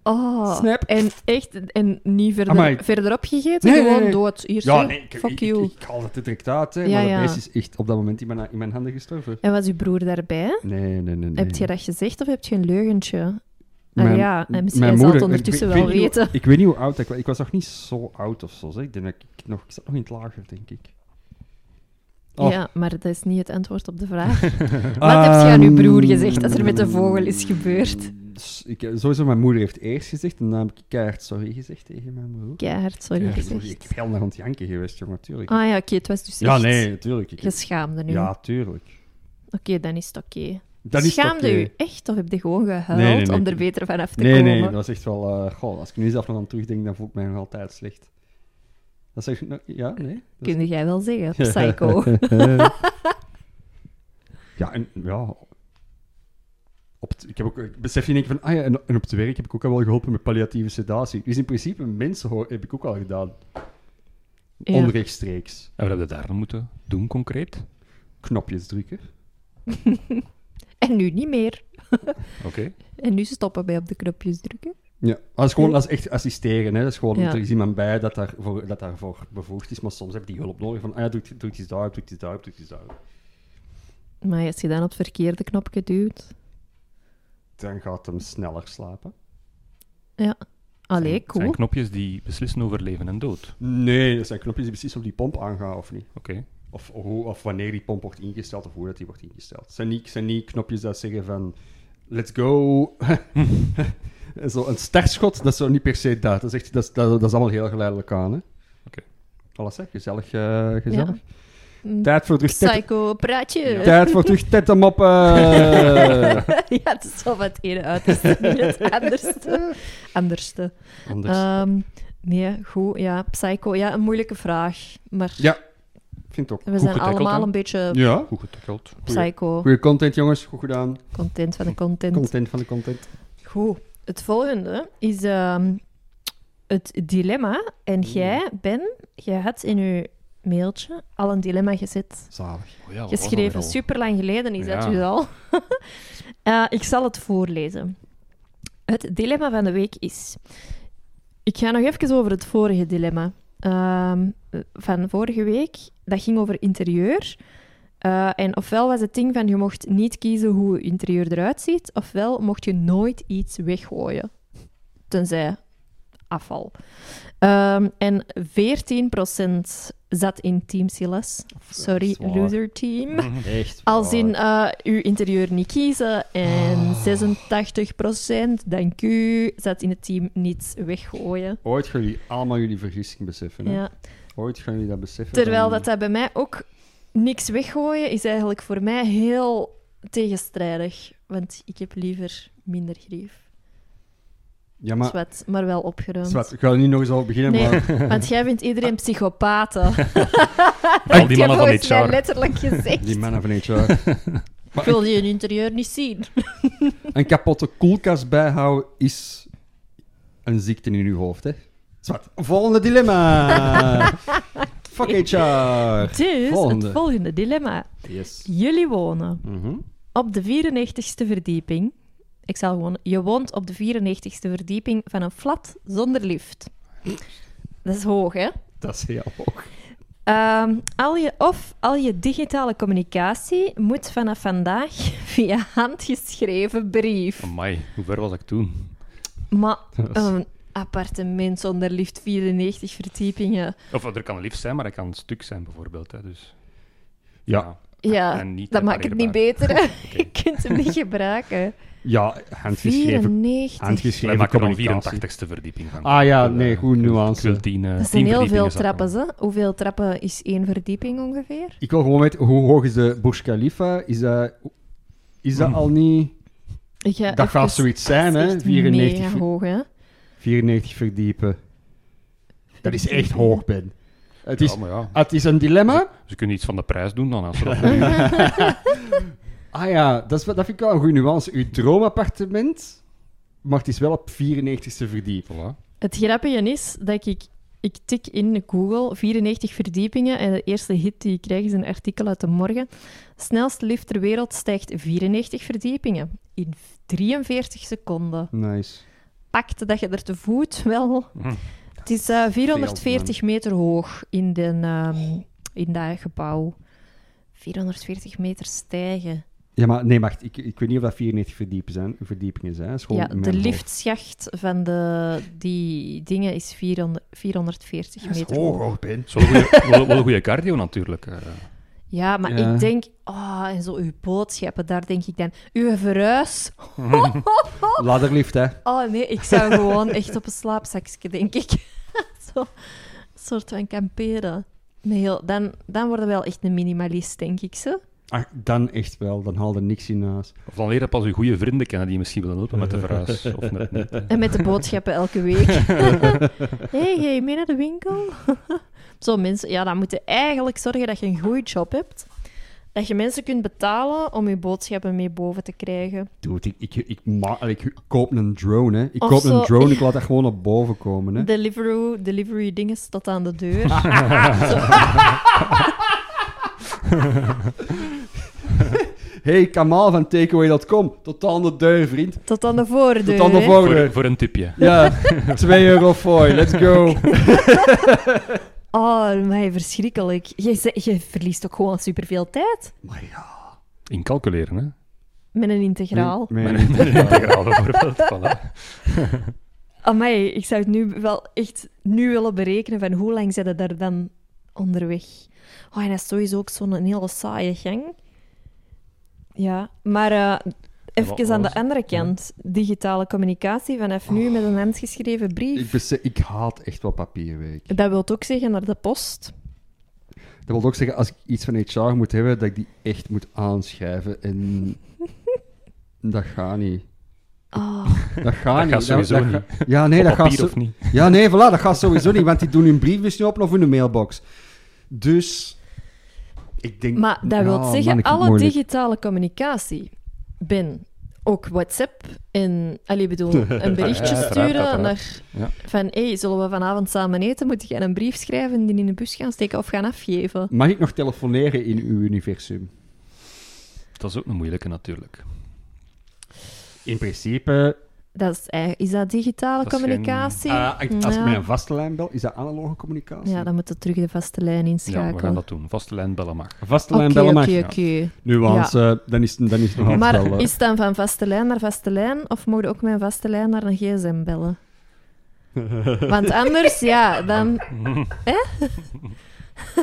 A: Oh.
B: Snap.
A: En echt, en niet verder,
B: Amai.
A: verder opgegeten,
B: Nee, nee,
A: gewoon
B: nee.
A: dood. Hier,
B: Ja,
A: zie.
B: nee, ik,
A: Dus fuck
B: ik,
A: you.
B: ik, ik haal het er direct uit, hè,
A: Ja,
B: maar
A: ja.
B: de beest is echt op dat moment in mijn, in mijn handen gestorven.
A: En was uw broer daarbij?
B: Nee, nee, nee. nee.
A: Heb je dat gezegd of heb je een leugentje?
B: Mijn-
A: ah ja, en misschien
B: mijn
A: zal het
B: moeder-
A: ondertussen
B: ik weet- ik
A: wel
B: weet niet hoe-
A: weten.
B: Ik weet niet hoe oud ik was. Ik was nog niet zo oud of zo. Zeg. Ik, denk dat ik, nog, ik zat nog in het lager, denk ik. Oh.
A: Ja, maar dat is niet het antwoord op de vraag. Wat heb je aan uw broer gezegd dat er met de vogel is gebeurd?
B: Ehm, S- Ik, sowieso, mijn moeder heeft eerst gezegd en dan heb ik keihard sorry gezegd tegen mijn broer.
A: Keihard, sorry
B: Keihard sorry. Ik
A: gezegd.
B: heb heel naar aan het janken geweest, jongen, tuurlijk.
A: Ah ja, oké, het was dus
B: ja,
A: echt
B: nee, natuurlijk. Ik-
A: geschaamde nu.
B: Ja, tuurlijk.
A: Oké, dan is het oké.
B: Dan is het
A: Schaamde
B: oké.
A: u echt of heb je gewoon gehuild
B: Nee, nee, nee.
A: om er beter van af te
B: Nee,
A: komen?
B: nee, dat was echt wel... eh, goh, als ik nu zelf nog aan terugdenk, dan voel ik mij nog altijd slecht. Dat zeg ik... nog- Ja, nee. dat is-
A: Kun jij wel zeggen, psycho.
B: Eh. ja, en ja. Op het- ik, heb ook, ik besef in één keer van, ah ja, en, en op het werk heb ik ook al wel geholpen met palliatieve sedatie. Dus in principe, mensen ho- heb ik ook al gedaan.
A: Ja.
B: Onrechtstreeks.
C: En wat hebben we daar dan moeten doen concreet?
B: Knopjes drukken.
A: En nu niet meer.
C: Oké.
A: En nu stoppen bij op de knopjes drukken.
B: Ja, dat is gewoon dat is echt assisteren. Hè. Dat is gewoon,
A: Ja.
B: er is iemand bij dat, daarvoor, dat daarvoor bevoegd is, maar soms heb je die hulp nodig van, ah ja, druk, druk iets daarop, druk iets daarop, druk iets daarop.
A: Maar als je dan op het verkeerde knopje duwt...
B: Dan gaat hem sneller slapen.
A: Allee,
C: Zijn-
A: cool.
C: Zijn knopjes die beslissen over leven en dood.
B: Nee, dat zijn knopjes die precies op die pomp aangaan, of niet?
C: Oké.
B: Of, hoe, of wanneer die pomp wordt ingesteld, of hoe dat die wordt ingesteld. Het zijn niet, het zijn niet knopjes dat zeggen van... Let's go. zo een startschot, dat is zo niet per se dat. Dat is, echt, dat is, dat, dat is allemaal heel geleidelijk aan, hè.
C: Oké.
B: Alles, hè. Gezellig, eh, gezellig.
A: Mm,
B: Tijd voor terug... tet-
A: Psycho, praatje.
B: Tijd voor terug tettenmoppen.
A: ja, het is wel van het ene uiterste, niet het anderste. Anderste.
B: Anders.
A: Ehm, nee, goed. Ja, psycho. Ja, een moeilijke vraag. Maar
B: ja, vind het ook.
A: we zijn
C: getackeld,
A: allemaal
C: hè?
A: een beetje
B: Ja.
C: Goed getackeld.
A: psycho.
B: Goeie content, jongens. Goed gedaan.
A: Oh. Content van de content.
B: Content van de content.
A: Goed. Het volgende is ehm, het dilemma. En jij, Ben, jij had in je mailtje al een dilemma gezet.
B: Zalig.
C: Oh ja, wat was dat weer
A: Geschreven,
C: al?
A: super lang geleden is dat
C: Ja.
A: dus al. Eh, ik zal het voorlezen. Het dilemma van de week is... Ik ga nog even over het vorige dilemma. Ehm, van vorige week, dat ging over interieur. Eh, en ofwel was het ding van je mocht niet kiezen hoe je interieur eruit ziet, ofwel mocht je nooit iets weggooien. Tenzij afval. Ehm, en 14% zat in Team Silas. Sorry,
B: Zwaar.
A: loser team.
B: Echt
A: Als
B: waar. Ah.
A: in eh, uw interieur niet kiezen. En 86%, dank u, zat in het team niet weggooien.
B: Ooit gaan jullie allemaal jullie vergissing beseffen, hè.
A: Ja.
B: Ooit gaan jullie dat beseffen.
A: Terwijl
B: dan-
A: dat, dat bij mij ook niks weggooien is eigenlijk voor mij heel tegenstrijdig. Want ik heb liever minder grief.
B: Ja,
A: Maar,
B: maar...
A: maar wel opgeruimd.
B: Zwart, ik ga er niet nog eens over beginnen,
A: Nee,
B: maar...
A: want jij vindt iedereen psychopaten.
C: Al die
A: Ik heb
C: mannen van
A: volgens mij
C: HR.
A: letterlijk gezegd.
B: Die mannen van HR.
A: Ik wil je interieur niet zien.
B: Een kapotte koelkast bijhouden is een ziekte in uw hoofd, hè? Zwart. Volgende dilemma! Fuck HR!
A: Dus,
B: Volgende.
A: het volgende dilemma.
B: Yes.
A: Jullie wonen
B: Mhm.
A: op de 94ste verdieping. Ik zal gewoon. Je woont op de 94ste verdieping van een flat zonder lift. Dat is hoog, hè?
B: Dat is heel hoog.
A: Ehm, al je, of al je digitale communicatie moet vanaf vandaag via handgeschreven brief.
C: Amai, hoe ver was ik toen?
A: Maar
B: Dat is-
A: een appartement zonder lift, 94 verdiepingen.
C: Of er kan lief zijn, maar dat kan een stuk zijn bijvoorbeeld. Hè, dus,
B: Ja.
A: Ja,
C: en niet
A: dat maakt het niet
C: herleverbaar.
A: beter. hè. Je kunt hem niet gebruiken.
B: Ja, handgeschreven.
A: 94.
C: Wij
B: handgeschreven
C: maken er
B: communicatie.
C: een 84ste verdieping van.
B: Ah ja,
C: Ik wil,
B: nee,
C: eh,
B: goede
C: ik wil-
B: nuance.
C: Ik wil tien, eh,
A: Dat
C: tien
A: zijn heel veel
C: verdiepingen zetten.
A: trappen. Hè? Hoeveel trappen is één verdieping ongeveer?
B: Ik wil gewoon weten, hoe hoog is de Burj Khalifa? Is dat, is dat
C: Hmm.
B: al niet...
A: Ik ga
B: dat gaat
A: even-
B: zoiets zijn,
A: dat is
B: hè?
A: echt
B: 94,
A: mega
B: ver-
A: hoog, hè?
B: 94 verdiepen. Dat is echt hoog, Ben. Het
C: Ja,
B: is, Ah,
C: maar ja,
B: het is een dilemma.
C: Ze kunnen iets van de prijs doen dan. Als ze dat
B: Ah ja, dat, is, wel- dat vind ik wel een goede nuance. Uw droomappartement, maar het is wel op 94ste verdiep.
C: voilà.
A: Het grappige is dat ik... Ik tik in Google 94 verdiepingen en de eerste hit die ik krijg is een artikel uit de morgen. Snelst lift ter wereld stijgt 94 verdiepingen in 43 seconden.
B: Nice.
A: Pakt dat je er te voet wel...
C: Hm.
A: Het is eh, 440 meter hoog in, de, ehm, in dat gebouw. 440 meter stijgen.
B: Ja, maar nee, wacht. Ik, ik weet niet of dat 94 verdiepen zijn, verdiepingen zijn. Dat is gewoon
A: Ja,
B: in
A: de
B: mijn hoofd.
A: liftschacht van de, die dingen is 400, 440
B: Dat is
A: meter
B: hoog,
A: hoog.
B: hoor, Ben.
C: Zo'n goeie- wel- wel goede cardio natuurlijk. eh.
A: Ja, maar
B: Ja.
A: ik denk, ah, en zo uw boodschappen, daar denk ik dan, uw verhuis.
B: Ladderlift, hè.
A: Oh nee, ik zou gewoon echt op een slaapzakje, denk ik. zo, soort van kamperen. Nee, heel- dan, dan worden we wel echt een minimalist, denk ik zo.
B: Ach, Ah, dan echt wel. Dan haal er niks in huis.
C: Of dan leer je pas je goede vrienden kennen die je misschien willen helpen met de verhuis. Of net niet. eh.
A: En met de boodschappen elke week. hey, ga je mee naar de winkel? Zo, mensen, ja, dan moeten eigenlijk zorgen dat je een goede job hebt. Dat je mensen kunt betalen om je boodschappen mee boven te krijgen.
B: Dude, ik, ik, ik, ma- ik, koop een drone, hè. Ik
A: Of
B: koop
A: zo-
B: een drone, ik laat dat gewoon op boven komen, hè.
A: Deliveroo, delivery dingen tot aan de deur.
B: Hey, Kamal van takeaway.com. Tot aan de deur, vriend.
A: tot aan de voordeur.
B: Tot aan de
A: hè.
B: voordeur.
C: voor, voor een tipje.
B: Ja, 2 euro fooi. Let's go.
A: Oh, maar verschrikkelijk. Je, ze- je verliest ook gewoon superveel tijd
B: Maar ja.
C: Incalculeren, hè.
A: met een integraal.
B: Nee,
C: Met een- met een integraal bijvoorbeeld. Voilà.
A: Amai, ik zou het nu wel echt nu willen berekenen van hoe lang zijn ze daar dan onderweg. Oh, en dat is sowieso ook zo'n een hele saaie gang. Ja, maar eh
C: wat-
A: even
C: wat
A: aan de
C: was-
A: andere kant. Digitale communicatie vanaf nu met
B: Oh.
A: een handgeschreven
B: Ik,
A: brief.
B: besef, ik haat echt wel papierwerk.
A: Dat wil ook zeggen naar de post.
B: Dat wil ook zeggen, als ik iets van HR moet hebben, dat ik die echt moet aanschrijven. En dat gaat niet.
A: Oh,
B: Dat gaat niet.
C: gaat sowieso
B: dat
C: niet.
B: gaat- Ja, nee,
C: Op
B: dat gaat
C: papier
B: zo...
C: of niet.
B: Ja, nee, voilà, dat gaat sowieso niet, want die doen hun briefbus niet open of hun mailbox. Dus, ik denk...
A: maar dat
B: Ja,
A: wil
B: man,
A: zeggen,
B: ik vind het
A: alle
B: moeilijk.
A: digitale communicatie ben ook WhatsApp en, allee, bedoel, een berichtje
C: uiteraard,
A: sturen
C: uiteraard.
A: naar
C: Ja.
A: van hey, zullen we vanavond samen eten? Moet jij een brief schrijven en die in de bus gaan steken of gaan afgeven?
B: Mag ik nog telefoneren in uw universum?
C: Dat is ook een moeilijke natuurlijk.
B: In principe,
A: Dat is, eigenlijk- is dat digitale
C: Dat is
A: communicatie?
B: eh, als ik
A: ja.
B: mijn vaste lijn bel, is dat analoge communicatie?
A: ja, dan moet je terug de vaste lijn
C: Ja, we
A: inschakelen.
C: gaan dat doen. Vaste lijn bellen mag.
B: Vaste lijn
A: Oké,
B: bellen mag.
A: oké,
C: ja.
A: oké.
B: Nuance, eh, dan is, dan is het nog altijd wel,
A: Maar
B: eh,
A: is het dan van vaste lijn naar vaste lijn of mogen ook mijn vaste lijn naar een gsm bellen? Want anders, ja, dan... Hè?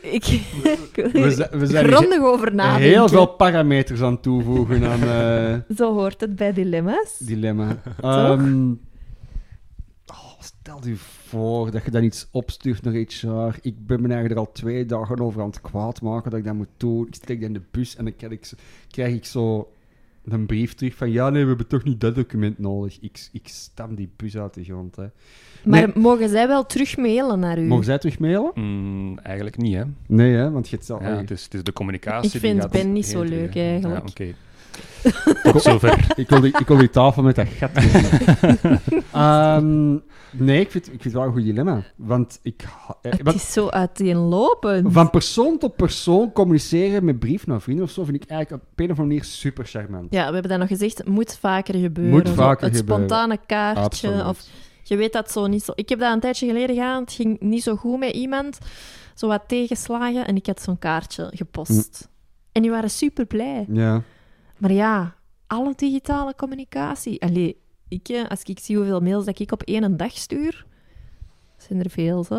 A: ik, ik wil hier
B: We, zi- we zijn hier
A: grondig over nadenken.
B: heel veel parameters aan het toevoegen aan eh,
A: Zo hoort het bij dilemma's.
B: dilemma. Ehm, oh, stel je voor dat je dan iets opstuurt naar HR. Ik ben me eigenlijk er al twee dagen over aan het kwaad maken dat ik dat moet doen. Ik steek dat in de bus en dan krijg ik, zo- krijg ik zo een brief terug van ja, nee, we hebben toch niet dat document nodig. Ik, ik stam die bus uit de grond. Hè.
A: Maar
B: Nee.
A: mogen zij wel terug mailen naar u?
B: Mogen zij terug mailen?
C: Mm, eigenlijk niet, hè.
B: Oh, Nee, hè, want je hebt zelf...
C: Ja, het, is, het is de communicatie.
A: Ik
C: die
A: vind
C: gaat
A: Ben niet zo
C: heen terug,
A: leuk,
C: hè.
A: eigenlijk.
C: Ja, oké. Tot zover.
B: dus Ik wil, die, ik wil die tafel met dat gat. Ehm, nee, ik vind, ik vind het wel een goed dilemma. Want ik. ha- eh,
A: Het
B: want
A: is zo uiteenlopend.
B: van persoon tot persoon communiceren met brief naar vrienden of zo vind ik eigenlijk op een of andere manier super charmant.
A: Ja, we hebben dat nog gezegd, het moet vaker gebeuren.
B: Moet
A: Zo
B: vaker
A: het
B: gebeuren.
A: spontane kaartje
B: Absoluut.
A: eh, of Je weet dat zo niet zo. Ik heb dat een tijdje geleden gedaan. Het ging niet zo goed met iemand. Zo wat tegenslagen. En ik had zo'n kaartje gepost.
B: Mm.
A: En die waren super blij.
B: Ja.
A: Maar ja, alle digitale communicatie. Allee, ik, eh, als ik zie hoeveel mails dat ik op één dag stuur, zijn er veel, hè?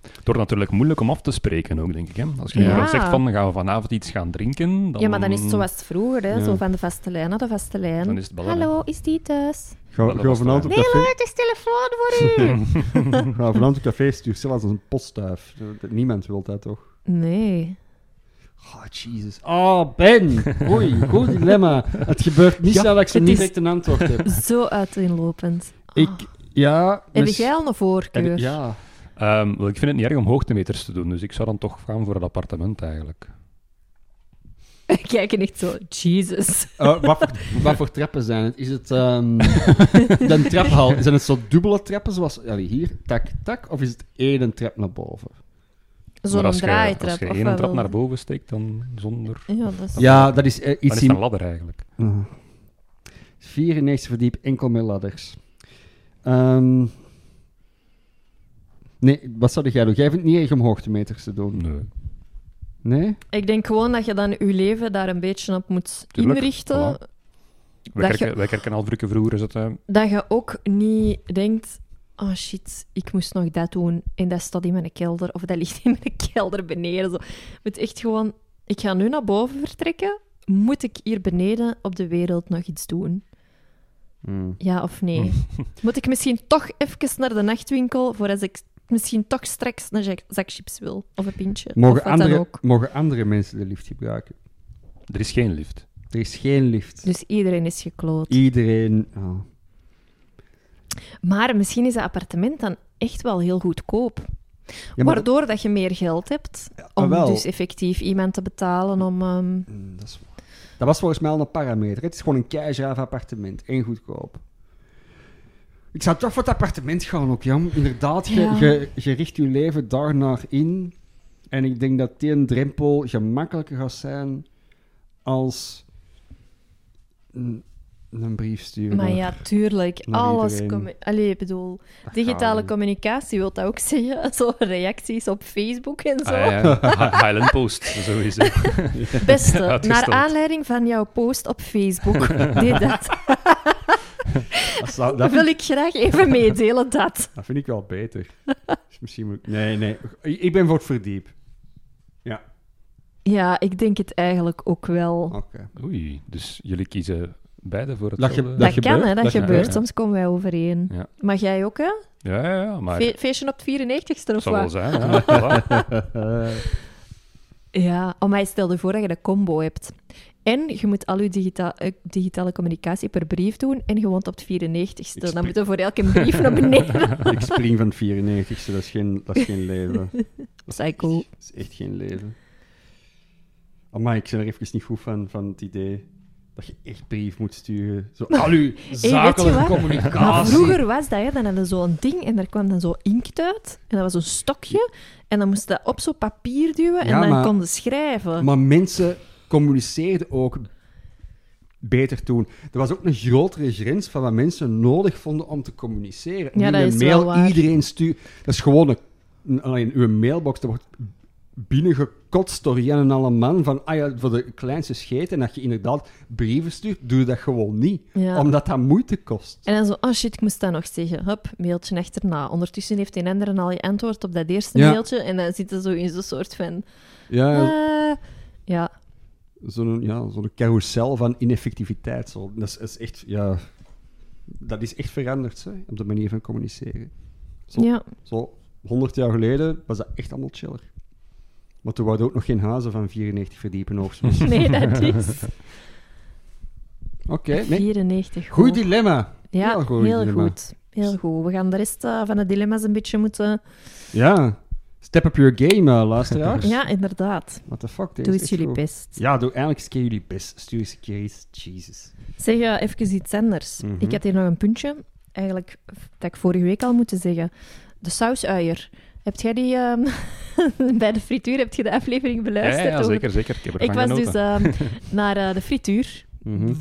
C: Het wordt natuurlijk moeilijk om af te spreken ook, denk ik. Hè? Als je
A: Ja.
C: gewoon zegt van, gaan we vanavond iets gaan drinken, dan...
D: Ja, maar dan is het zoals vroeger, hè?
B: Mm. Ja.
D: zo van de vaste lijn naar de vaste lijn.
C: Dan is het ballen,
D: Hallo, is die thuis?
B: Ga,
C: dat
B: ga
C: was
B: vanavond op
D: Nee, hoor,
B: café,
D: het is telefoon voor u.
B: ga vanavond op café stuur zelfs als een postduif. Dat- Niemand wil dat toch?
A: Nee.
B: Oh, Jesus. Oh, Ben. Oei, goed dilemma. Het gebeurt niet snel dat ik zo
A: het
B: niet
A: is-
B: direct een antwoord heb.
A: Zo uiteenlopend.
B: Ik, ja...
A: Heb
B: mis-
A: jij al een
B: Dus heb
A: voorkeur?
B: ik- Ja.
C: Ehm, wel, ik vind het niet erg om hoogtemeters te doen, dus ik zou dan toch gaan voor het appartement eigenlijk.
A: We kijken echt zo, Jesus.
B: Eh, wat, voor, wat voor trappen zijn het? Is het ehm een traphal? Zijn het zo dubbele trappen zoals allee, hier, tak, tak? Of is het één trap naar boven?
C: maar
A: Zo'n
C: als je-
A: draaitrap.
C: Als je
A: of
C: één
A: wat
C: trap
A: wil-
C: naar boven steekt, dan zonder...
A: Ja, dat is...
B: Ja, dat is eh,
C: Dan
B: iets
C: is het een
B: in...
C: ladder eigenlijk.
B: Ah. 94 verdiep, enkel met ladders. Ehm, nee, wat zou jij doen? Jij vindt het niet erg om hoogtemeters te doen.
C: Oh, Nee.
B: Nee?
A: Ik denk gewoon dat je dan je leven daar een beetje op moet
C: Tuurlijk,
A: inrichten.
C: Wij
A: Dat je-
C: kerken, wij kerken al drukke vroeger, is het... eh,
A: Dat je ook niet denkt... Oh shit, ik moest nog dat doen. En dat staat in mijn kelder. Of dat ligt in mijn kelder beneden. Zo. Je moet echt gewoon... Ik ga nu naar boven vertrekken. Moet ik hier beneden op de wereld nog iets doen?
B: Hmm.
A: Ja of nee? moet ik misschien toch even naar de nachtwinkel... Voor als ik misschien toch straks een zak- zak chips wil. Of een pintje.
B: Mogen,
A: of wat dan
B: andere,
A: ook.
B: mogen andere mensen de lift gebruiken?
C: Er is geen lift.
B: Er is geen lift.
A: Dus iedereen is gekloot.
B: Iedereen... ah.
A: Maar misschien is dat appartement dan echt wel heel goedkoop.
B: Ja, maar-
A: Waardoor dat je meer geld hebt
B: ah,
A: om
B: wel.
A: dus effectief iemand te betalen om... ehm,
B: Mm, dat, is waar. dat was volgens mij al een parameter. Het is gewoon een keigraaf appartement. Eén goedkoop. Ik zou toch voor het appartement gaan ook, Jan. Inderdaad, je,
A: Ja.
B: je, je richt je leven daarnaar in. En ik denk dat die een drempel gemakkelijker gaat zijn als een, een brief sturen.
A: maar ja, tuurlijk.
B: naar
A: Alles...
B: iedereen.
A: commu- Allee, ik bedoel...
B: Dat gaat
A: Digitale
B: niet.
A: communicatie wil dat ook zeggen. Zo reacties op Facebook en zo.
C: Ah, ja. Hi- Highland Post, zo is het.
A: Beste, naar
C: Uitgesteld.
A: aanleiding van jouw post op Facebook, deed dat.
B: Dat, zou- dat
A: wil ik graag even meedelen dat.
B: Dat vind ik wel beter. Dus misschien moet ik- Nee, nee. Ik ik ben voor het verdiep.
A: Ja, ik denk het eigenlijk ook wel.
B: Oké.
C: Oei, dus jullie kiezen beide voor het
B: Dat ge-
A: Dat, kan,
B: gebeurt,
A: hè? Dat,
B: dat
A: gebeurt.
C: gebeurt.
A: Soms komen wij overeen.
C: Ja.
A: Maar jij ook, hè?
C: Ja, ja, ja, maar
A: Fe- feestje op het 94ste
C: het
A: of
C: zal wel
A: wat?
C: zijn. Ja, voilà.
A: Ja, oh, maar stel je voor dat je de combo hebt. En je moet al je digita- eh, digitale communicatie per brief doen en je woont op het 94ste.
B: spreek-
A: Dan moeten we voor elke brief naar beneden.
B: Ik spring van het 94ste, dat is geen, dat is geen leven.
A: Psycho.
B: Dat is echt geen leven. Maar ik ben er even niet goed van, van het idee dat je echt brief moet sturen. Zo, al uw zakelijke
A: wat? Maar
B: communicatie.
A: vroeger was dat, hè, dan hadden ze zo'n ding en daar kwam dan zo inkt uit. En dat was een stokje. En dan moest je dat op zo'n papier duwen en
B: Ja,
A: dan
B: maar-
A: konden schrijven.
B: Maar mensen communiceerden ook beter toen. Er was ook een grotere grens van wat mensen nodig vonden om te communiceren. Nu
A: Ja, dat
B: een
A: is
B: mail
A: wel waar.
B: iedereen stuurt. Dat is gewoon een, een- alleen uw mailbox. Dat wordt binnengekotst door Jan en alle man van ah ja, voor de kleinste scheet en dat je inderdaad brieven stuurt, doe dat gewoon niet.
A: Ja.
B: Omdat dat moeite kost.
A: En dan zo, oh shit, ik moest dat nog zeggen. Hup, mailtje achterna. Ondertussen heeft een ander al je antwoord op dat eerste
B: Ja.
A: mailtje. En dan zit je zo in zo'n soort van...
B: Ja,
A: eh, ja,
B: zo'n ja, zo'n carousel van ineffectiviteit. Zo. Dat, is, is echt, ja, dat is echt veranderd, hè, op de manier van communiceren. Zo.
A: ja.
B: Zo, 100 jaar geleden was dat echt allemaal chiller. Maar toen waren er ook nog geen hazen van 94 verdiepen hoogstens. Oké,
A: Nee, dat is...
B: nee.
A: 94.
B: Goed
A: goed.
B: dilemma.
A: Ja,
B: Heel
A: heel,
B: goed dilemma.
A: goed. Heel goed. We gaan de rest eh, van de dilemma's een beetje moeten...
B: Ja. Step up your game, eh, luisteraars.
A: Ja, inderdaad.
B: What the fuck, deze
A: Doe
B: is
A: eens
B: echt
A: jullie
B: goed.
A: best.
B: Ja, doe eindelijk eens een keer jullie best. Stuur eens een keer iets. Jesus.
A: Zeg eh, even iets anders.
B: Mhm.
A: Ik had hier nog een puntje, eigenlijk f- dat ik vorige week al moeten zeggen. De sausuier. Heb jij die ehm, bij de frituur? Heb je de aflevering
C: ja, ja,
A: beluisterd?
C: ja,
A: over-
C: zeker, zeker. Ik, heb ervan
A: Ik was dus
C: genoten.
A: ehm, naar eh, de frituur
B: Mhm.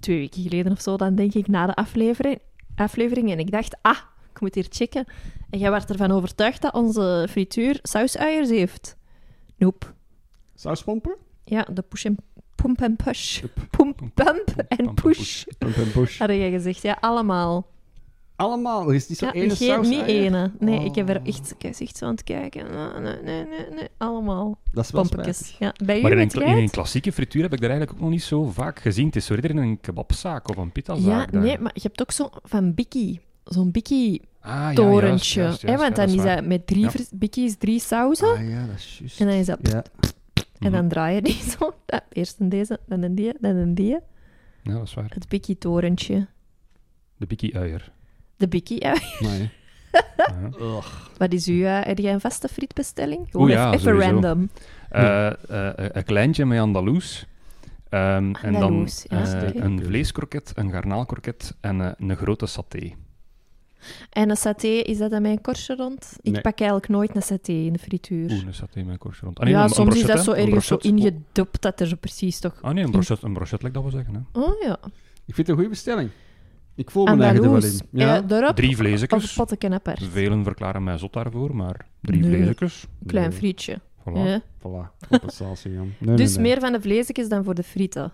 A: twee weken geleden of zo, dan denk ik na de aflevering. aflevering en ik dacht, ah, ik moet hier checken. En jij werd ervan overtuigd dat onze frituur sausuiers heeft. Nope.
B: Sauspompen?
A: Ja, de push en pomp en push. Pomp, pump en
C: pump en
A: push.
B: Pump en push.
A: Hadden jij gezegd, ja, allemaal.
B: allemaal. Er is niet zo
A: Ja,
B: één ene
A: geen-
B: saus.
A: niet
B: Ah, ja.
A: ene. Nee, ik heb er
B: Oh.
A: echt, ik was echt zo aan het kijken. Ah, Nee, nee, nee, nee. Allemaal
B: Dat is wel
A: pompekjes. Ja, bij
C: Maar
A: u
C: in een,
A: met
C: kla- in een
A: geit?
C: klassieke frituur heb ik dat eigenlijk ook nog niet zo vaak gezien. Het is zo eerder in een kebabzaak of een
A: Ja,
C: pitazaak. daar.
A: nee, maar je hebt ook zo van Bikkie. Zo'n Bikkie-torentje.
C: Ah, ja, juist,
A: hè
C: juist, juist, ja,
A: want
C: dat
A: dan is
C: waar.
A: dat met drie
C: Ja.
A: vers- Bikkies, drie sauzen.
B: spijtig. Ah ja, dat is juist.
A: En dan is dat...
B: Ja.
C: Mhm.
A: En dan draai je die zo. Ja, eerst een deze, dan een die, dan een die.
C: Ja, dat is waar.
A: Het Bikkie-torentje.
C: De bikkie-uier.
A: De Bikkie... eh,
B: Maar, ja.
C: Ja.
A: Wat is uw... eh, Heb jij een vaste frietbestelling? Gewoon
C: Oeh, ja,
A: even
C: sowieso.
A: random.
C: Eh, eh, een kleintje met Andaloes. Ehm, en dan
A: Andaloes, ja,
C: eh,
A: oké.
C: een vleeskroket, een garnaalkroket en eh, een grote saté.
A: En een saté, is dat dan mijn korstje rond? Ik
B: Nee.
A: pak eigenlijk nooit een saté in de frituur.
C: Oeh, een saté met een korstje rond. Ah, nee,
A: ja,
C: een- een
A: soms is dat
C: brochette,
A: zo
C: een
A: ergens zo
C: brochette.
A: ingedopt dat er zo precies toch...
C: Ah nee, een brochet, een brochet, lijkt dat wel zeggen. Hè.
A: Oh ja,
B: Ik vind het een goede bestelling. Ik voel me eigen er wel
A: Andaloes.
B: in. Ja.
A: Eh, daarop
C: Drie
A: of
C: vleesjes.
A: potteken apart.
C: Velen verklaren mij zot daarvoor, maar drie
A: Nee.
C: vleesjes.
A: Klein
B: Nee,
A: frietje.
C: Voilà.
A: hè.
B: Voilà, compensatie, Jan. Nee,
A: dus
B: nee, nee.
A: meer van de vleesjes dan voor de frieten.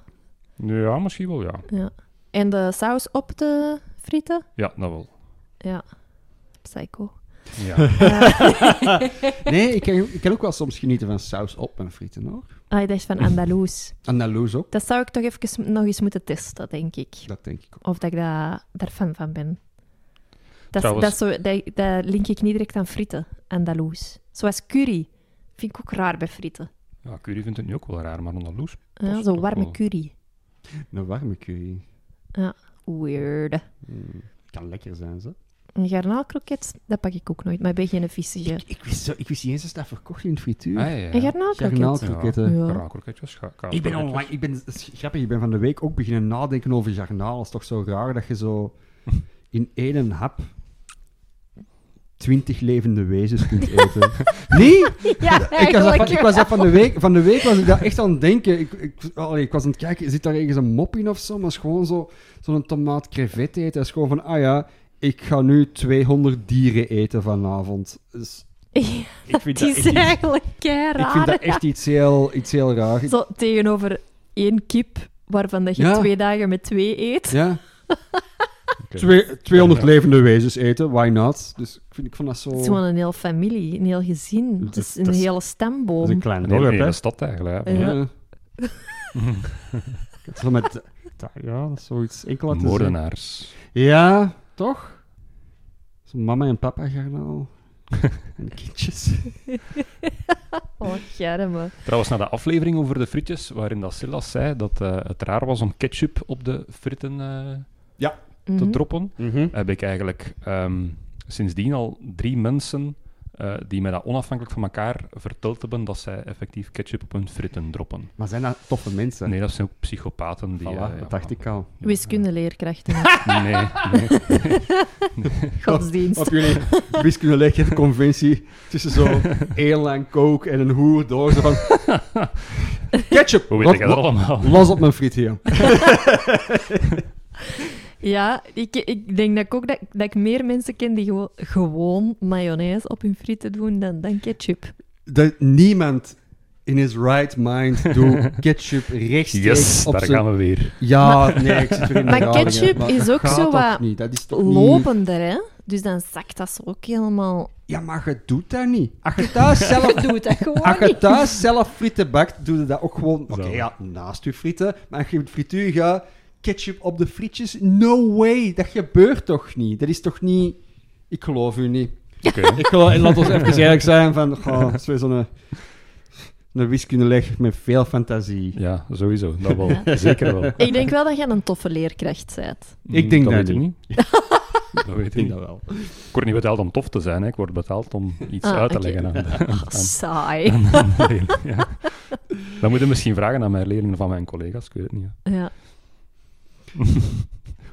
C: Ja, misschien wel, ja.
A: Ja. En de saus op de frieten?
C: Ja, dat wel.
A: Ja. Psycho.
C: Ja.
B: Nee, ik kan, ik kan ook wel soms genieten van saus op mijn frieten, hoor.
A: Ah, ik dacht van Andaloes.
B: Andaloes ook,
A: Dat zou ik toch even nog eens moeten testen, denk ik.
B: dat denk ik ook.
A: Of dat ik daar daarvan van ben. Dat,
C: Trouwens-
A: dat, zo, dat, dat link ik niet direct aan frieten, Andaloes. Zoals curry. Vind ik ook raar bij frieten.
C: ja, curry vindt het nu ook wel raar, maar Andaloes.
A: Ja,
C: Past
A: Zo'n
C: toch
A: warme
B: Oh.
C: wel.
A: curry.
B: Een warme curry.
A: Weird.
B: Mm, Kan lekker zijn, zo.
A: Een garnaalkroket, dat pak ik ook nooit, maar ik ben geen vissige.
B: Ik, ik, wist zo, ik wist niet eens dat dat verkocht in de frituur.
C: Ah, ja, ja.
A: Een garnaalkroket?
B: Garnaalkroketten.
A: Ja.
C: Garnaalkroketjes, ga- kaas-
B: Ik ben
C: kroketjes.
B: online, ik ben, het is grappig, ik ben van de week ook beginnen nadenken over garnaal. Het is toch zo raar dat je zo in één hap twintig levende wezens kunt eten. nee? Ik was, dat
A: Ja,
B: van,
A: eigenlijk
B: ik was dat van de week, van de week was ik daar echt aan het denken. Ik, ik, allee, ik was aan het kijken, zit daar ergens een mop in of zo? Maar het is gewoon zo- zo'n tomaat crevet eten. Dat is gewoon van, ah ja, ik ga nu 200 dieren eten vanavond. Dus
A: Ja,
B: ik vind
A: het
B: dat
A: is
B: echt, iets,
A: eigenlijk kei
B: ik vind
A: raar.
B: dat echt iets heel, iets heel raar.
A: Zo tegenover één kip, waarvan dat je
B: Ja.
A: twee dagen met twee eet.
B: Ja.
C: Oké.
B: Twee- 200
C: Ja.
B: levende wezens eten, why not? Dus ik, vind, ik vond dat zo...
A: Het is gewoon een hele familie, een heel gezin. Het
B: Dat-
A: is een
B: dat is-
A: hele
B: Dat
A: stamboom.
B: is een klein
C: Een
B: dorp,
C: hele,
B: hè?
C: hele stad eigenlijk. Hè.
A: Ja.
B: Ja. Het is wel met... Ja, dat is zoiets enkel uit de zin.
C: Moordenaars.
B: Ja, toch? Zo'n mama en papa garnaal. en de kindjes.
A: Oh, germe.
C: Trouwens, na de aflevering over de frietjes, waarin dat Silas zei dat eh, het raar was om ketchup op de fritten eh, te
A: Mhm.
C: droppen, heb ik eigenlijk ehm, sindsdien al drie mensen eh, die mij dat onafhankelijk van elkaar verteld hebben dat zij effectief ketchup op hun fritten droppen.
B: Maar zijn dat toffe mensen?
C: Nee, dat zijn ook psychopaten die...
B: Voilà,
C: eh, ja,
B: dat dacht ik al.
A: Wiskundeleerkrachten,
C: Nee, nee.
A: godsdienst.
B: Op jullie wiskundelijke conventie tussen zo heel lang coke en een hoer door. Zo van... Ketchup!
C: Hoe weet
B: Lot-
C: ik dat allemaal?
B: Los op mijn friet hier.
A: Ja, ik, ik denk dat ik ook dat, dat ik meer mensen ken die gewoon, gewoon mayonaise op hun frieten doen dan, dan ketchup.
B: dat niemand in his right mind doet ketchup rechtstreeks
C: Yes,
B: op
C: daar
B: zijn...
C: gaan we weer.
B: Ja, nee, ik zit weer in de
A: Maar
B: herhaling,
A: ketchup
B: hè. Maar
A: is
B: dat
A: ook
B: gaat
A: zo
B: toch
A: wat
B: niet? Dat is toch niet-
A: Lopender, hè? Dus dan zakt dat zo ook helemaal.
B: Ja, maar je doet dat niet. Als je thuis zelf,
A: Doe dat gewoon.
B: als je thuis zelf frieten bakt, doe je dat ook gewoon... Oké,
C: Zo.
B: ja, naast je frieten. Maar als je met frituur gaat, ketchup op de frietjes, no way. Dat gebeurt toch niet? Dat is toch niet... Ik geloof u niet.
C: Oké.
B: Ik geloof, en laat ons even eerlijk zijn van... Goh, dat is weer zo'n... eh, Een wiskundeleg met veel fantasie.
C: Ja, sowieso. Dat wel. Zeker wel. Mm,
A: Ik denk wel dat jij een toffe leerkracht bent.
B: Ik denk
C: dat,
B: dat
C: weet ik
B: niet.
C: dat weet
B: Ik
C: ik
B: denk
C: niet.
B: dat wel.
C: Ik word niet betaald om tof te zijn, hè. ik word betaald om iets
A: Ah,
C: uit te
A: oké.
C: leggen aan de, aan,
A: Ah, saai.
C: aan de leerling, ja. Dat moet je misschien vragen aan mijn leerlingen of aan mijn collega's, ik weet het niet. hè.
A: Ja,